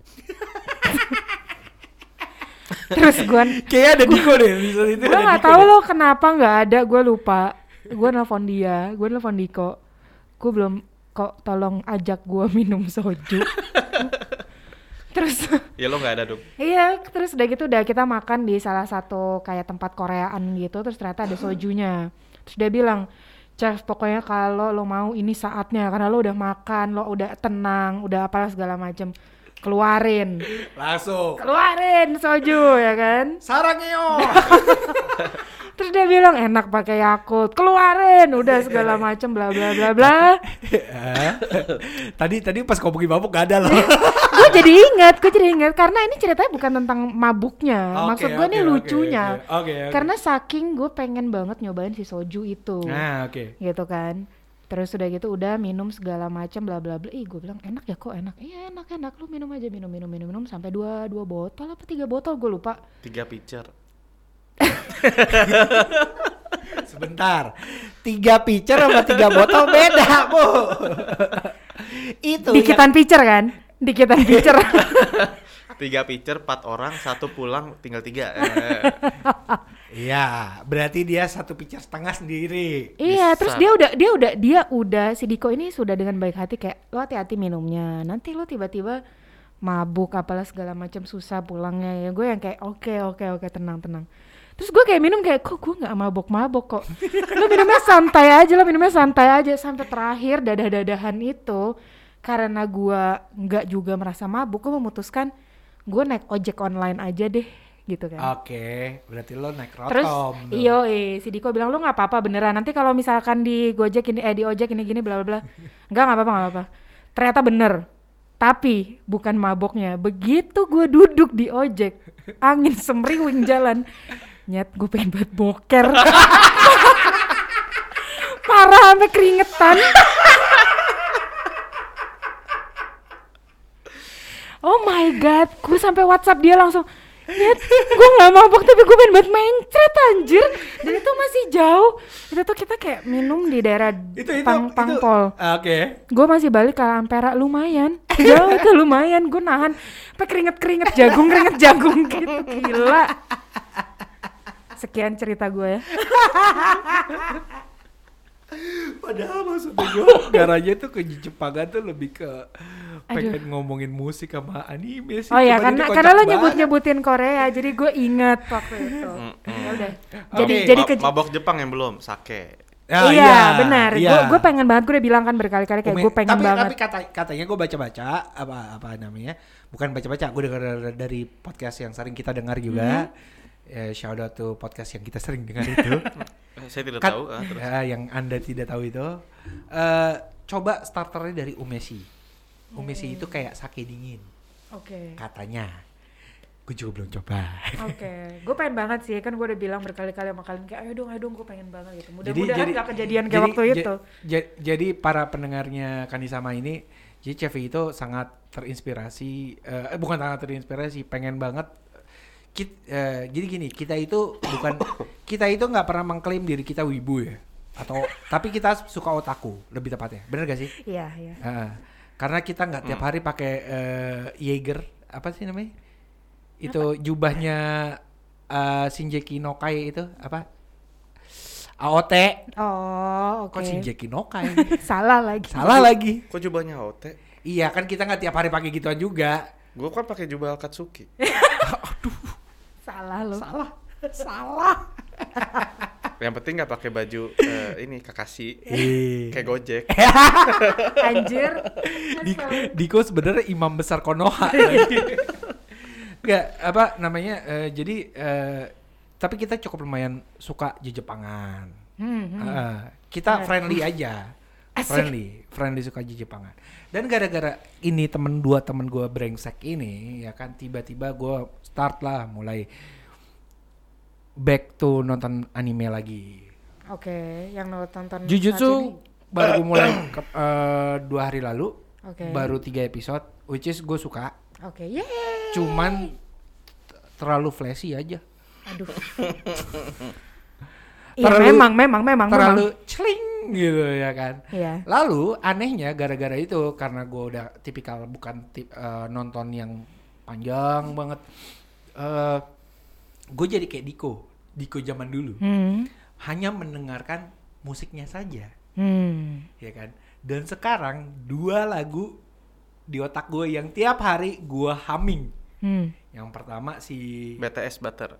Speaker 2: Terus gue
Speaker 1: Kayaknya ada Diko deh di saat itu.
Speaker 2: gue nggak tahu lo kenapa nggak ada gue lupa gue nelfon dia gue nelfon Diko gue belum kok tolong ajak gue minum soju terus
Speaker 3: Ya lo nggak ada dong.
Speaker 2: iya terus udah gitu udah kita makan di salah satu kayak tempat Koreaan gitu terus ternyata ada sojunya terus dia bilang Chef pokoknya kalau lo mau ini saatnya karena lo udah makan lo udah tenang udah apalah segala macem keluarin
Speaker 1: Langsung.
Speaker 2: keluarin soju ya kan
Speaker 1: Sarangeo.
Speaker 2: Terus dia bilang enak pakai Yakult, keluarin udah segala macem bla bla bla bla.
Speaker 1: Eh, tadi tadi pas ngomongin mabuk gak ada loh.
Speaker 2: Iya, gue jadi ingat, gue jadi ingat karena ini ceritanya bukan tentang mabuknya,
Speaker 1: Oke,
Speaker 2: maksud gue
Speaker 1: oke,
Speaker 2: nih
Speaker 1: oke,
Speaker 2: lucunya.
Speaker 1: oke, oke, oke.
Speaker 2: Karena saking gue pengen banget nyobain si soju itu,
Speaker 1: nah, oke.
Speaker 2: gitu kan. Terus udah gitu udah minum segala macem bla bla bla. Ih gue bilang enak ya kok enak, iya enak enak lu minum aja minum minum minum minum sampai dua dua botol apa tiga botol gue lupa.
Speaker 3: Tiga picture.
Speaker 1: Sebentar. Tiga pitcher sama tiga botol beda, Bu. itu
Speaker 2: Dikitan pitcher kan, dikitan pitcher.
Speaker 3: Tiga picture, empat orang, satu pulang, tinggal tiga. Eh.
Speaker 1: Iya, berarti dia satu pitcher setengah sendiri.
Speaker 2: Iya,
Speaker 3: Bisa.
Speaker 2: terus dia udah dia udah dia udah si Diko ini sudah dengan baik hati kayak lo hati-hati minumnya. Nanti lo tiba-tiba mabuk apalah segala macam susah pulangnya ya gue yang kayak oke oke oke tenang tenang terus gue kayak minum kayak kok gue nggak mabok mabok kok lo minumnya santai aja lo minumnya santai aja sampai terakhir dadah dadahan itu karena gue nggak juga merasa mabuk gue memutuskan gue naik ojek online aja deh gitu
Speaker 1: Oh,
Speaker 2: kan
Speaker 1: Oke, berarti lo naik rotom.
Speaker 2: Terus
Speaker 1: dong.
Speaker 2: iyo eh si Diko bilang lu nggak apa-apa beneran nanti kalau misalkan di Gojek ini eh di ojek ini gini bla bla bla nggak nggak apa-apa nggak apa-apa ternyata bener tapi bukan maboknya begitu gue duduk di ojek angin semriwing jalan nyet gue pengen buat boker parah sampai keringetan Oh my god, gue sampai WhatsApp dia langsung Nyet, gue gak mabok tapi gue pengen buat mencret anjir Dan itu masih jauh Itu tuh kita kayak minum di daerah
Speaker 1: Itu itu
Speaker 2: Pang-
Speaker 1: itu- Ah,
Speaker 2: Pangpol
Speaker 1: Oke.
Speaker 2: Gue masih balik ke Ampera lumayan Jauh itu lumayan, gue nahan Sampai keringet-keringet jagung, keringet jagung gitu Gila Sekian cerita gue ya
Speaker 1: Padahal maksudnya gue garanya tuh ke Jepangan tuh lebih ke pengen ngomongin musik sama anime sih.
Speaker 2: Oh ya
Speaker 1: Cuman
Speaker 2: karena
Speaker 1: ini
Speaker 2: karena
Speaker 1: kocak
Speaker 2: lo
Speaker 1: banget.
Speaker 2: nyebut-nyebutin Korea jadi gue inget waktu itu
Speaker 3: Mm-mm.
Speaker 2: Ya udah
Speaker 1: Oke.
Speaker 2: Jadi jadi
Speaker 3: Ma-
Speaker 2: ke
Speaker 3: mabok Jepang yang belum, sake.
Speaker 1: Ah,
Speaker 2: iya, benar. Gue
Speaker 1: iya.
Speaker 2: gue pengen banget gue udah bilang kan berkali-kali kayak
Speaker 1: Umi-
Speaker 2: gue pengen
Speaker 1: tapi,
Speaker 2: banget.
Speaker 1: Tapi kata, katanya gue baca-baca apa apa namanya? Bukan baca-baca, gue dengar dari podcast yang sering kita dengar juga.
Speaker 2: Hmm.
Speaker 1: Eh, shout out to podcast yang kita sering dengar itu.
Speaker 3: Eh, Saya tidak
Speaker 1: Kat-
Speaker 3: tahu. ah, terus.
Speaker 1: Ya, yang Anda tidak tahu itu. Eh, coba starternya dari umesi. Umesi
Speaker 2: Hmm.
Speaker 1: itu kayak sake dingin
Speaker 2: Oke.
Speaker 1: katanya. Gue juga belum coba.
Speaker 2: Oke, gue pengen banget sih kan gue udah bilang berkali-kali sama kalian kayak ayo dong, ayo dong, gue pengen banget gitu. Mudah-mudahan gak kejadian kayak
Speaker 1: jadi-
Speaker 2: waktu
Speaker 1: ja-
Speaker 2: itu.
Speaker 1: ja- jadi para pendengarnya Kanisama ini, jadi Chevy itu sangat terinspirasi, eh eh, bukan sangat terinspirasi, pengen banget. Kit- eh, jadi gini, kita itu bukan, kita itu nggak pernah mengklaim diri kita wibu ya, atau tapi kita suka otaku lebih tepatnya, bener gak sih?
Speaker 2: Iya, iya.
Speaker 1: Heeh. karena kita nggak tiap hari pakai eh, Jaeger apa sih namanya? Itu jubahnya eh, Shinjeki no Kai itu apa? AOT.
Speaker 2: Oh, oke.
Speaker 1: Kok Shinjeki no Kai?
Speaker 2: Salah lagi.
Speaker 1: Salah lagi.
Speaker 3: Kok jubahnya Ote?
Speaker 1: Iya kan kita nggak tiap hari pakai gituan juga.
Speaker 3: Gue kan pakai jubah Akatsuki.
Speaker 2: Salah lo.
Speaker 1: Salah. Salah.
Speaker 3: Yang penting nggak pakai baju eh, ini Kakashi. Kayak Gojek.
Speaker 2: Anjir.
Speaker 1: Iya. Di- Diko sebenarnya imam besar Konoha. Enggak, apa namanya? eh, jadi eh, tapi kita cukup lumayan suka di Jepangan.
Speaker 2: Hmm, hmm.
Speaker 1: Heeh. Ah, kita
Speaker 2: Benar.
Speaker 1: friendly aja.
Speaker 2: Asik.
Speaker 1: Friendly, friendly suka di Jepangan. Dan gara-gara ini temen dua temen gue brengsek ini, ya kan tiba-tiba gue start lah mulai back to nonton anime lagi.
Speaker 2: Oke, yang lo tonton Hmm, saat ini.
Speaker 1: Jujutsu baru gue mulai ke- eh, dua hari lalu,
Speaker 2: Oke.
Speaker 1: baru tiga episode, which is gue suka,
Speaker 2: Oke, yeay.
Speaker 1: cuman t- terlalu flashy aja,
Speaker 2: Aduh. Iya,
Speaker 1: Terlalu-
Speaker 2: memang, memang, memang,
Speaker 1: terlalu
Speaker 2: memang.
Speaker 1: celing gitu ya kan.
Speaker 2: Iya.
Speaker 1: Lalu anehnya gara-gara itu karena gue udah tipikal bukan tip, eh, nonton yang panjang banget, eh gue jadi kayak Diko, Diko zaman dulu,
Speaker 2: Hmm.
Speaker 1: hanya mendengarkan musiknya saja,
Speaker 2: Hmm.
Speaker 1: ya kan? Dan sekarang dua lagu di otak gue yang tiap hari gue humming.
Speaker 2: Hmm.
Speaker 1: Yang pertama si
Speaker 3: BTS Butter.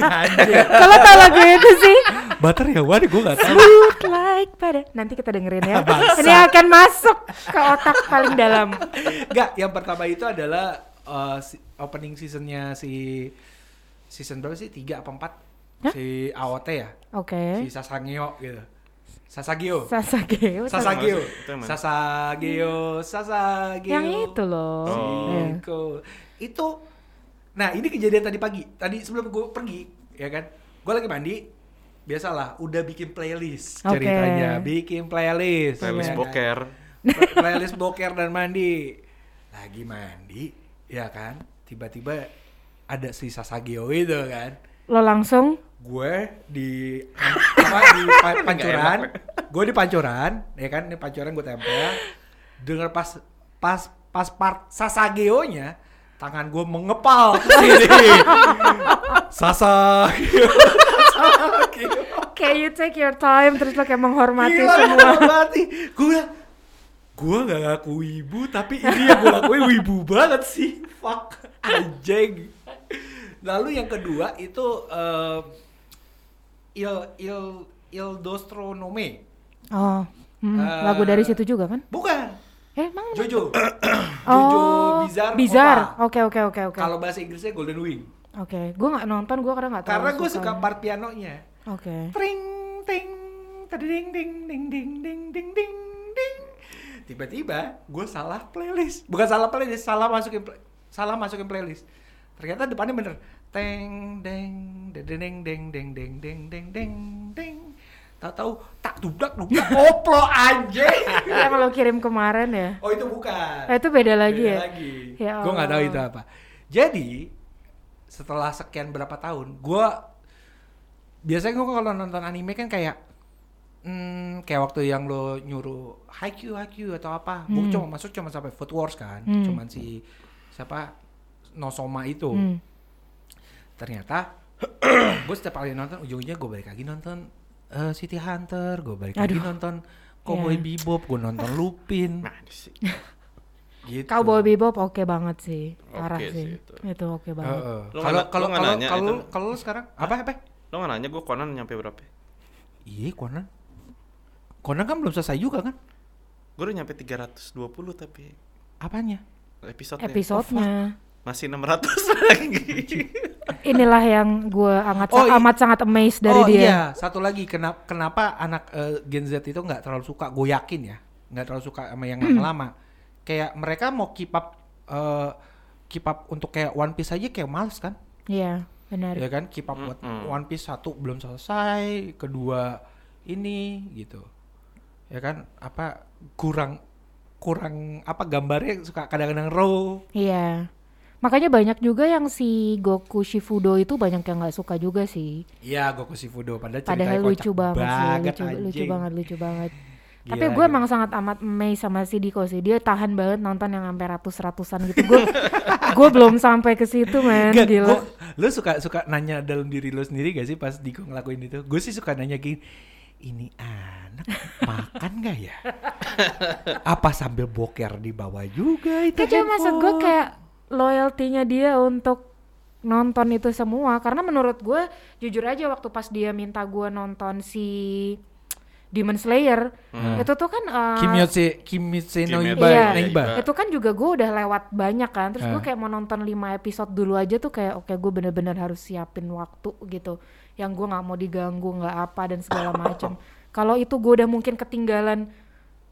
Speaker 1: Anjir.
Speaker 2: Kalau tau lagu itu sih
Speaker 1: Butter ya, waduh gue gak tahu.
Speaker 2: Good like pada Nanti kita dengerin ya
Speaker 1: Bangsat.
Speaker 2: Ini akan masuk ke otak paling dalam
Speaker 1: Enggak, yang pertama itu adalah uh, si- opening seasonnya si season berapa sih? 3 apa 4?
Speaker 2: Hah? Eh?
Speaker 1: Si AOT ya? Si
Speaker 2: Oke
Speaker 1: Sasangeo gitu. Sasageo.
Speaker 2: Sasage
Speaker 1: Sasageo.
Speaker 3: Itu yang mana?
Speaker 1: Sasageo. Sasageo.
Speaker 2: Yang itu loh
Speaker 3: Oh.
Speaker 2: Iya.
Speaker 1: Siko. Itu Nah, ini kejadian tadi pagi. Tadi sebelum gue pergi, ya kan? Gue lagi mandi. Biasalah, udah bikin playlist
Speaker 2: Oke.
Speaker 1: ceritanya. Bikin playlist. ya
Speaker 3: Playlist
Speaker 1: kan?
Speaker 3: boker.
Speaker 1: Play- playlist boker dan mandi lagi mandi ya kan tiba-tiba ada si Sasageo itu kan
Speaker 2: Lo langsung
Speaker 1: gue di apa di pa- pancuran gue di pancuran ya kan di pancuran gue tempel denger pas pas pas part Sasageo nya tangan gue mengepal ke sini Sasageo Sasageo
Speaker 2: Kayak you take your time Terus lo kayak menghormati
Speaker 1: Gila,
Speaker 2: semua
Speaker 1: gua Iya, mati. Gue bilang, gue gak ngaku wibu, tapi ini yang gue lakuin wibu banget sih. Fuck, anjing. Lalu yang kedua itu eh, Il Il Il Dostronome.
Speaker 2: Oh hmm,
Speaker 1: Eh,
Speaker 2: Lagu dari situ juga kan
Speaker 1: Bukan,
Speaker 2: Eh emang
Speaker 1: Jojo. Jojo
Speaker 2: Oh
Speaker 1: Bizarre. Opa.
Speaker 2: Oke oke oke oke
Speaker 1: Kalau bahasa Inggrisnya Golden Wing.
Speaker 2: Oke Gue gak nonton Gue karena gak tau
Speaker 1: Karena gue suka part pianonya.
Speaker 2: Oke
Speaker 1: Tring ting tading ding ding ding ding ding ding ding. Tiba-tiba gue salah playlist. Bukan salah playlist, salah masukin pla- salah masukin playlist. Ternyata depannya bener. Teng deng dedeng deng deng deng deng deng deng deng. Tak tahu tak dubdak dubdak koplo anjing.
Speaker 2: Yang lo kirim kemarin ya
Speaker 1: Oh itu bukan.
Speaker 2: Eh, itu beda lagi
Speaker 1: Beda
Speaker 2: ya?
Speaker 1: lagi.
Speaker 2: Ya
Speaker 1: gue nggak tahu
Speaker 2: Allah.
Speaker 1: itu apa. Jadi setelah sekian berapa tahun, gue biasanya gue kalau nonton anime kan kayak hmm, kayak waktu yang lo nyuruh Haikyuu Haikyuu atau apa, gue
Speaker 2: Hmm.
Speaker 1: cuma masuk cuma sampai Food Wars kan,
Speaker 2: Hmm.
Speaker 1: cuman si siapa Nosoma itu.
Speaker 2: Hmm.
Speaker 1: Ternyata gue setiap kali nonton ujung-ujungnya gue balik lagi nonton eh, City Hunter, gue balik lagi
Speaker 2: Aduh.
Speaker 1: nonton Cowboy
Speaker 2: Ya.
Speaker 1: Bebop, gue nonton Lupin.
Speaker 3: Nah, ini sih.
Speaker 1: Gitu.
Speaker 2: Cowboy Bebop oke banget sih, parah
Speaker 3: Oke
Speaker 2: sih.
Speaker 3: sih
Speaker 2: Itu, Eh,
Speaker 3: itu.
Speaker 2: oke banget.
Speaker 1: Heeh.
Speaker 3: Lu
Speaker 1: Kalau
Speaker 3: nggak na-
Speaker 1: kalau
Speaker 3: lu nggak
Speaker 1: kalau
Speaker 3: nanya
Speaker 1: kalau
Speaker 3: itu?
Speaker 1: kalau lu sekarang apa apa?
Speaker 3: Lo nggak nanya gue Conan nyampe berapa?
Speaker 1: Iya, Conan. Conan kan belum selesai juga kan?
Speaker 3: Gue udah nyampe 320 tapi
Speaker 1: Apanya?
Speaker 3: episode
Speaker 2: episode-nya.
Speaker 3: masih 600 lagi.
Speaker 2: Inilah yang gue amat
Speaker 1: Oh, i-
Speaker 2: amat sangat amazed dari
Speaker 1: oh
Speaker 2: dia.
Speaker 1: iya, satu lagi kenapa kenapa anak eh, Gen Z itu nggak terlalu suka? Gue yakin ya, nggak terlalu suka sama
Speaker 2: Hmm.
Speaker 1: yang lama-lama. Kayak mereka mau keep up eh, keep up untuk kayak One Piece aja kayak males kan?
Speaker 2: Iya, benar.
Speaker 1: Ya kan keep up buat
Speaker 3: Mm-mm.
Speaker 1: One Piece satu belum selesai, kedua ini gitu. Ya kan apa kurang kurang apa gambarnya suka kadang-kadang raw.
Speaker 2: Iya. Makanya banyak juga yang si Goku Shifudo itu banyak yang nggak suka juga sih.
Speaker 1: Iya, Goku Shifudo padahal ceritanya
Speaker 2: Padahal lucu
Speaker 1: kocak
Speaker 2: banget, sih, lucu, lucu
Speaker 1: anjing.
Speaker 2: banget, lucu banget.
Speaker 1: Gila,
Speaker 2: Tapi gue
Speaker 1: gila.
Speaker 2: emang sangat amat amazed sama si Diko sih. Dia tahan banget nonton yang sampai ratus-ratusan gitu. Gue gue belum sampai ke situ, men.
Speaker 1: Gak,
Speaker 2: Gila.
Speaker 1: gua- lu suka suka nanya dalam diri lu sendiri gak sih pas Diko ngelakuin itu? Gue sih suka nanya gini, ini anak makan gak ya? Apa sambil boker di bawah juga itu
Speaker 2: Kayak maksud gue
Speaker 1: handphone?
Speaker 2: kayak loyaltinya dia untuk nonton itu semua karena menurut gue jujur aja waktu pas dia minta gue nonton si Demon Slayer
Speaker 1: Hmm.
Speaker 2: itu tuh kan eh,
Speaker 1: Kimyotse, Kimyotse no
Speaker 3: Kimetsu
Speaker 1: Iba,
Speaker 2: Iya.
Speaker 1: no Iba.
Speaker 3: Iba.
Speaker 2: itu kan juga gue udah lewat banyak kan terus
Speaker 1: Ah.
Speaker 2: gue kayak mau nonton 5 episode dulu aja tuh kayak oke gue bener-bener harus siapin waktu gitu yang gue nggak mau diganggu nggak apa dan segala macam kalau itu gue udah mungkin ketinggalan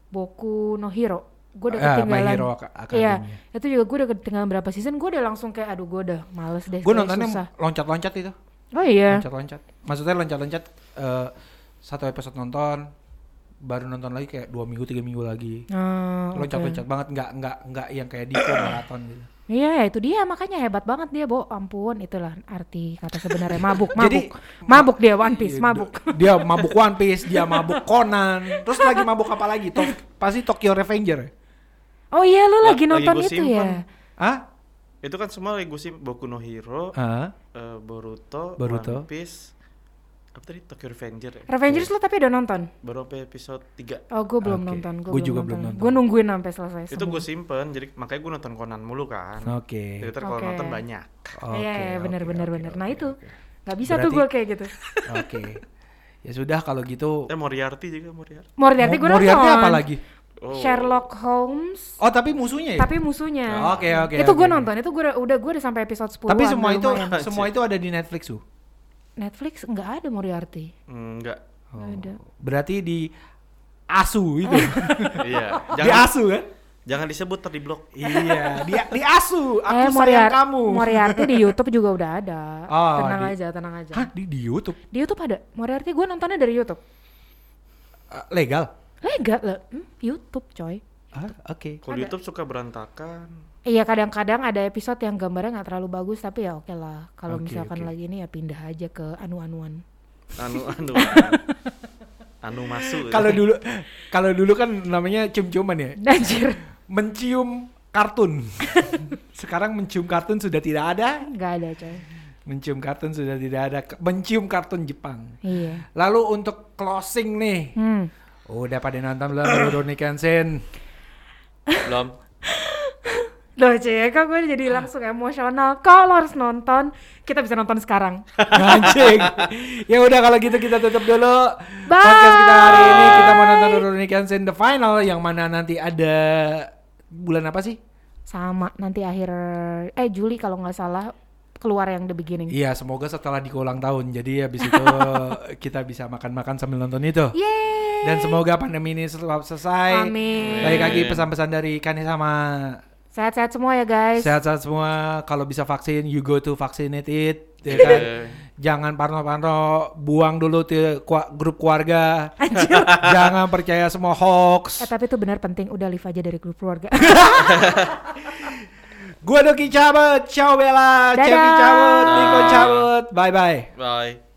Speaker 2: Boku no Hero gue udah
Speaker 1: Ah, My
Speaker 2: ketinggalan
Speaker 1: Hero Ak- Academia.
Speaker 2: iya itu juga gue udah ketinggalan berapa season gue udah langsung kayak aduh gue udah males deh
Speaker 1: Gue
Speaker 2: kayak
Speaker 1: nontonnya
Speaker 2: susah
Speaker 1: loncat-loncat itu,
Speaker 2: oh iya
Speaker 1: loncat-loncat. Maksudnya loncat-loncat eh, satu episode nonton, baru nonton lagi kayak dua minggu tiga minggu lagi.
Speaker 2: Ah, oke.
Speaker 1: Loncat-loncat banget, nggak nggak nggak yang kayak Diko maraton gitu.
Speaker 2: Iya, ya itu dia makanya hebat banget dia, Bo. Ampun, itulah arti kata sebenarnya mabuk, mabuk.
Speaker 1: Jadi-
Speaker 2: mabuk dia One Piece,
Speaker 1: Iya,
Speaker 2: mabuk.
Speaker 1: d- Dia mabuk One Piece, dia mabuk Conan, terus lagi mabuk apa lagi? To- pasti Tokyo Revenger. ya?
Speaker 2: Oh iya, lu
Speaker 3: Lah,
Speaker 2: lagi
Speaker 3: lagi
Speaker 2: nonton
Speaker 3: gua
Speaker 2: itu
Speaker 3: simpen.
Speaker 2: ya.
Speaker 1: Hah?
Speaker 3: Itu kan semua lagi gue sih Boku no Hero,
Speaker 1: Heeh.
Speaker 3: eh,
Speaker 1: Ah.
Speaker 3: Boruto,
Speaker 1: Boruto.
Speaker 3: One Piece, apa tadi Tokyo Revenger ya?
Speaker 2: Revengers lu tapi udah nonton?
Speaker 3: Baru sampai episode 3
Speaker 2: Oh, gue belum
Speaker 1: Iya. Oke,
Speaker 2: nonton.
Speaker 1: gua juga belum nonton.
Speaker 2: Gue nungguin sampai selesai. Iya,
Speaker 3: Itu gue simpen, jadi makanya gue nonton Conan mulu kan
Speaker 1: Oke.
Speaker 3: Jadi ntar kalau
Speaker 2: Oke.
Speaker 3: nonton banyak
Speaker 1: Oke,
Speaker 2: Iya, iya,
Speaker 1: oke,
Speaker 2: benar benar
Speaker 1: oke,
Speaker 2: benar.
Speaker 1: oke,
Speaker 2: Nah, itu.
Speaker 1: oke.
Speaker 2: Nggak bisa tuh
Speaker 1: Berarti-
Speaker 2: gue kayak gitu.
Speaker 1: Oke. Ya sudah kalau gitu.
Speaker 3: Eh Moriarty juga Moriarty
Speaker 2: Moriarty
Speaker 1: Mo-
Speaker 2: gue nonton.
Speaker 1: Moriarty apa lagi?
Speaker 3: Oh.
Speaker 2: Sherlock Holmes.
Speaker 1: Oh, tapi musuhnya ya?
Speaker 2: Tapi musuhnya.
Speaker 1: Oke, oke,
Speaker 2: Itu gue
Speaker 1: oke.
Speaker 2: nonton. Itu gue udah gue udah sampai episode 10
Speaker 1: Tapi semua itu
Speaker 3: lumayan.
Speaker 1: semua itu ada di Netflix, tuh.
Speaker 2: Netflix nggak ada Moriarty.
Speaker 3: Enggak
Speaker 1: Oh.
Speaker 2: Nggak ada.
Speaker 1: Berarti di Asu itu.
Speaker 3: Iya
Speaker 1: di
Speaker 3: Jangan,
Speaker 1: Asu kan?
Speaker 3: jangan disebut ntar di blok
Speaker 1: iya, di, di Asu. Aku sayang
Speaker 2: eh, Moriar-
Speaker 1: kamu.
Speaker 2: Moriarty di YouTube juga udah ada.
Speaker 1: Oh,
Speaker 2: tenang
Speaker 1: di-
Speaker 2: aja, tenang aja.
Speaker 1: Hah, di, di YouTube.
Speaker 2: Di YouTube ada. Moriarty gue nontonnya dari YouTube.
Speaker 1: Eh, legal.
Speaker 2: Legal lah. Hmm, YouTube coy.
Speaker 1: Ah, oke.
Speaker 3: Kalau di Youtube suka berantakan
Speaker 2: Iya kadang-kadang ada episode yang gambarnya nggak terlalu bagus tapi ya oke lah kalau
Speaker 1: Oke,
Speaker 2: misalkan
Speaker 1: oke.
Speaker 2: lagi ini ya pindah aja ke anu-anuan.
Speaker 3: Anu, anu Anu masuk
Speaker 1: Kalau dulu kalau dulu kan namanya cium-ciuman ya.
Speaker 2: Anjir
Speaker 1: mencium kartun. Sekarang mencium kartun sudah tidak ada,
Speaker 2: nggak ada coy.
Speaker 1: mencium kartun sudah tidak ada, Ke- mencium kartun Jepang.
Speaker 2: Iya.
Speaker 1: Lalu untuk closing nih,
Speaker 2: Hmm.
Speaker 1: udah pada nonton belum Rurouni Kenshin?
Speaker 3: Belum
Speaker 2: Loh cie, kok gue jadi langsung emosional. Kalau harus nonton, kita bisa nonton sekarang.
Speaker 1: Anjing. ya udah kalau gitu kita tutup dulu
Speaker 2: Bye.
Speaker 1: podcast kita hari ini. Kita mau nonton Rurouni Kenshin The Final yang mana nanti ada bulan apa sih?
Speaker 2: Sama nanti akhir eh Juli kalau nggak salah keluar yang The Beginning.
Speaker 1: Iya, semoga setelah di ulang tahun. Jadi habis itu kita bisa makan-makan sambil nonton itu.
Speaker 2: Yeay.
Speaker 1: Dan semoga pandemi ini sel- selesai.
Speaker 2: Amin.
Speaker 1: Baik lagi pesan-pesan dari Kani sama
Speaker 2: Sehat-sehat semua ya guys.
Speaker 1: sehat-sehat semua. Kalau bisa vaksin, you go to vaccinate it. ya kan?
Speaker 3: Iya.
Speaker 1: Jangan parno-parno, buang dulu til kua- grup keluarga. Jangan percaya semua hoax.
Speaker 2: Eh tapi itu benar penting udah live aja dari grup keluarga.
Speaker 1: Gua Doki cabut, ciao Bella,
Speaker 2: Dadah.
Speaker 1: Cevi cabut, Niko cabut. Bye-bye.
Speaker 3: Bye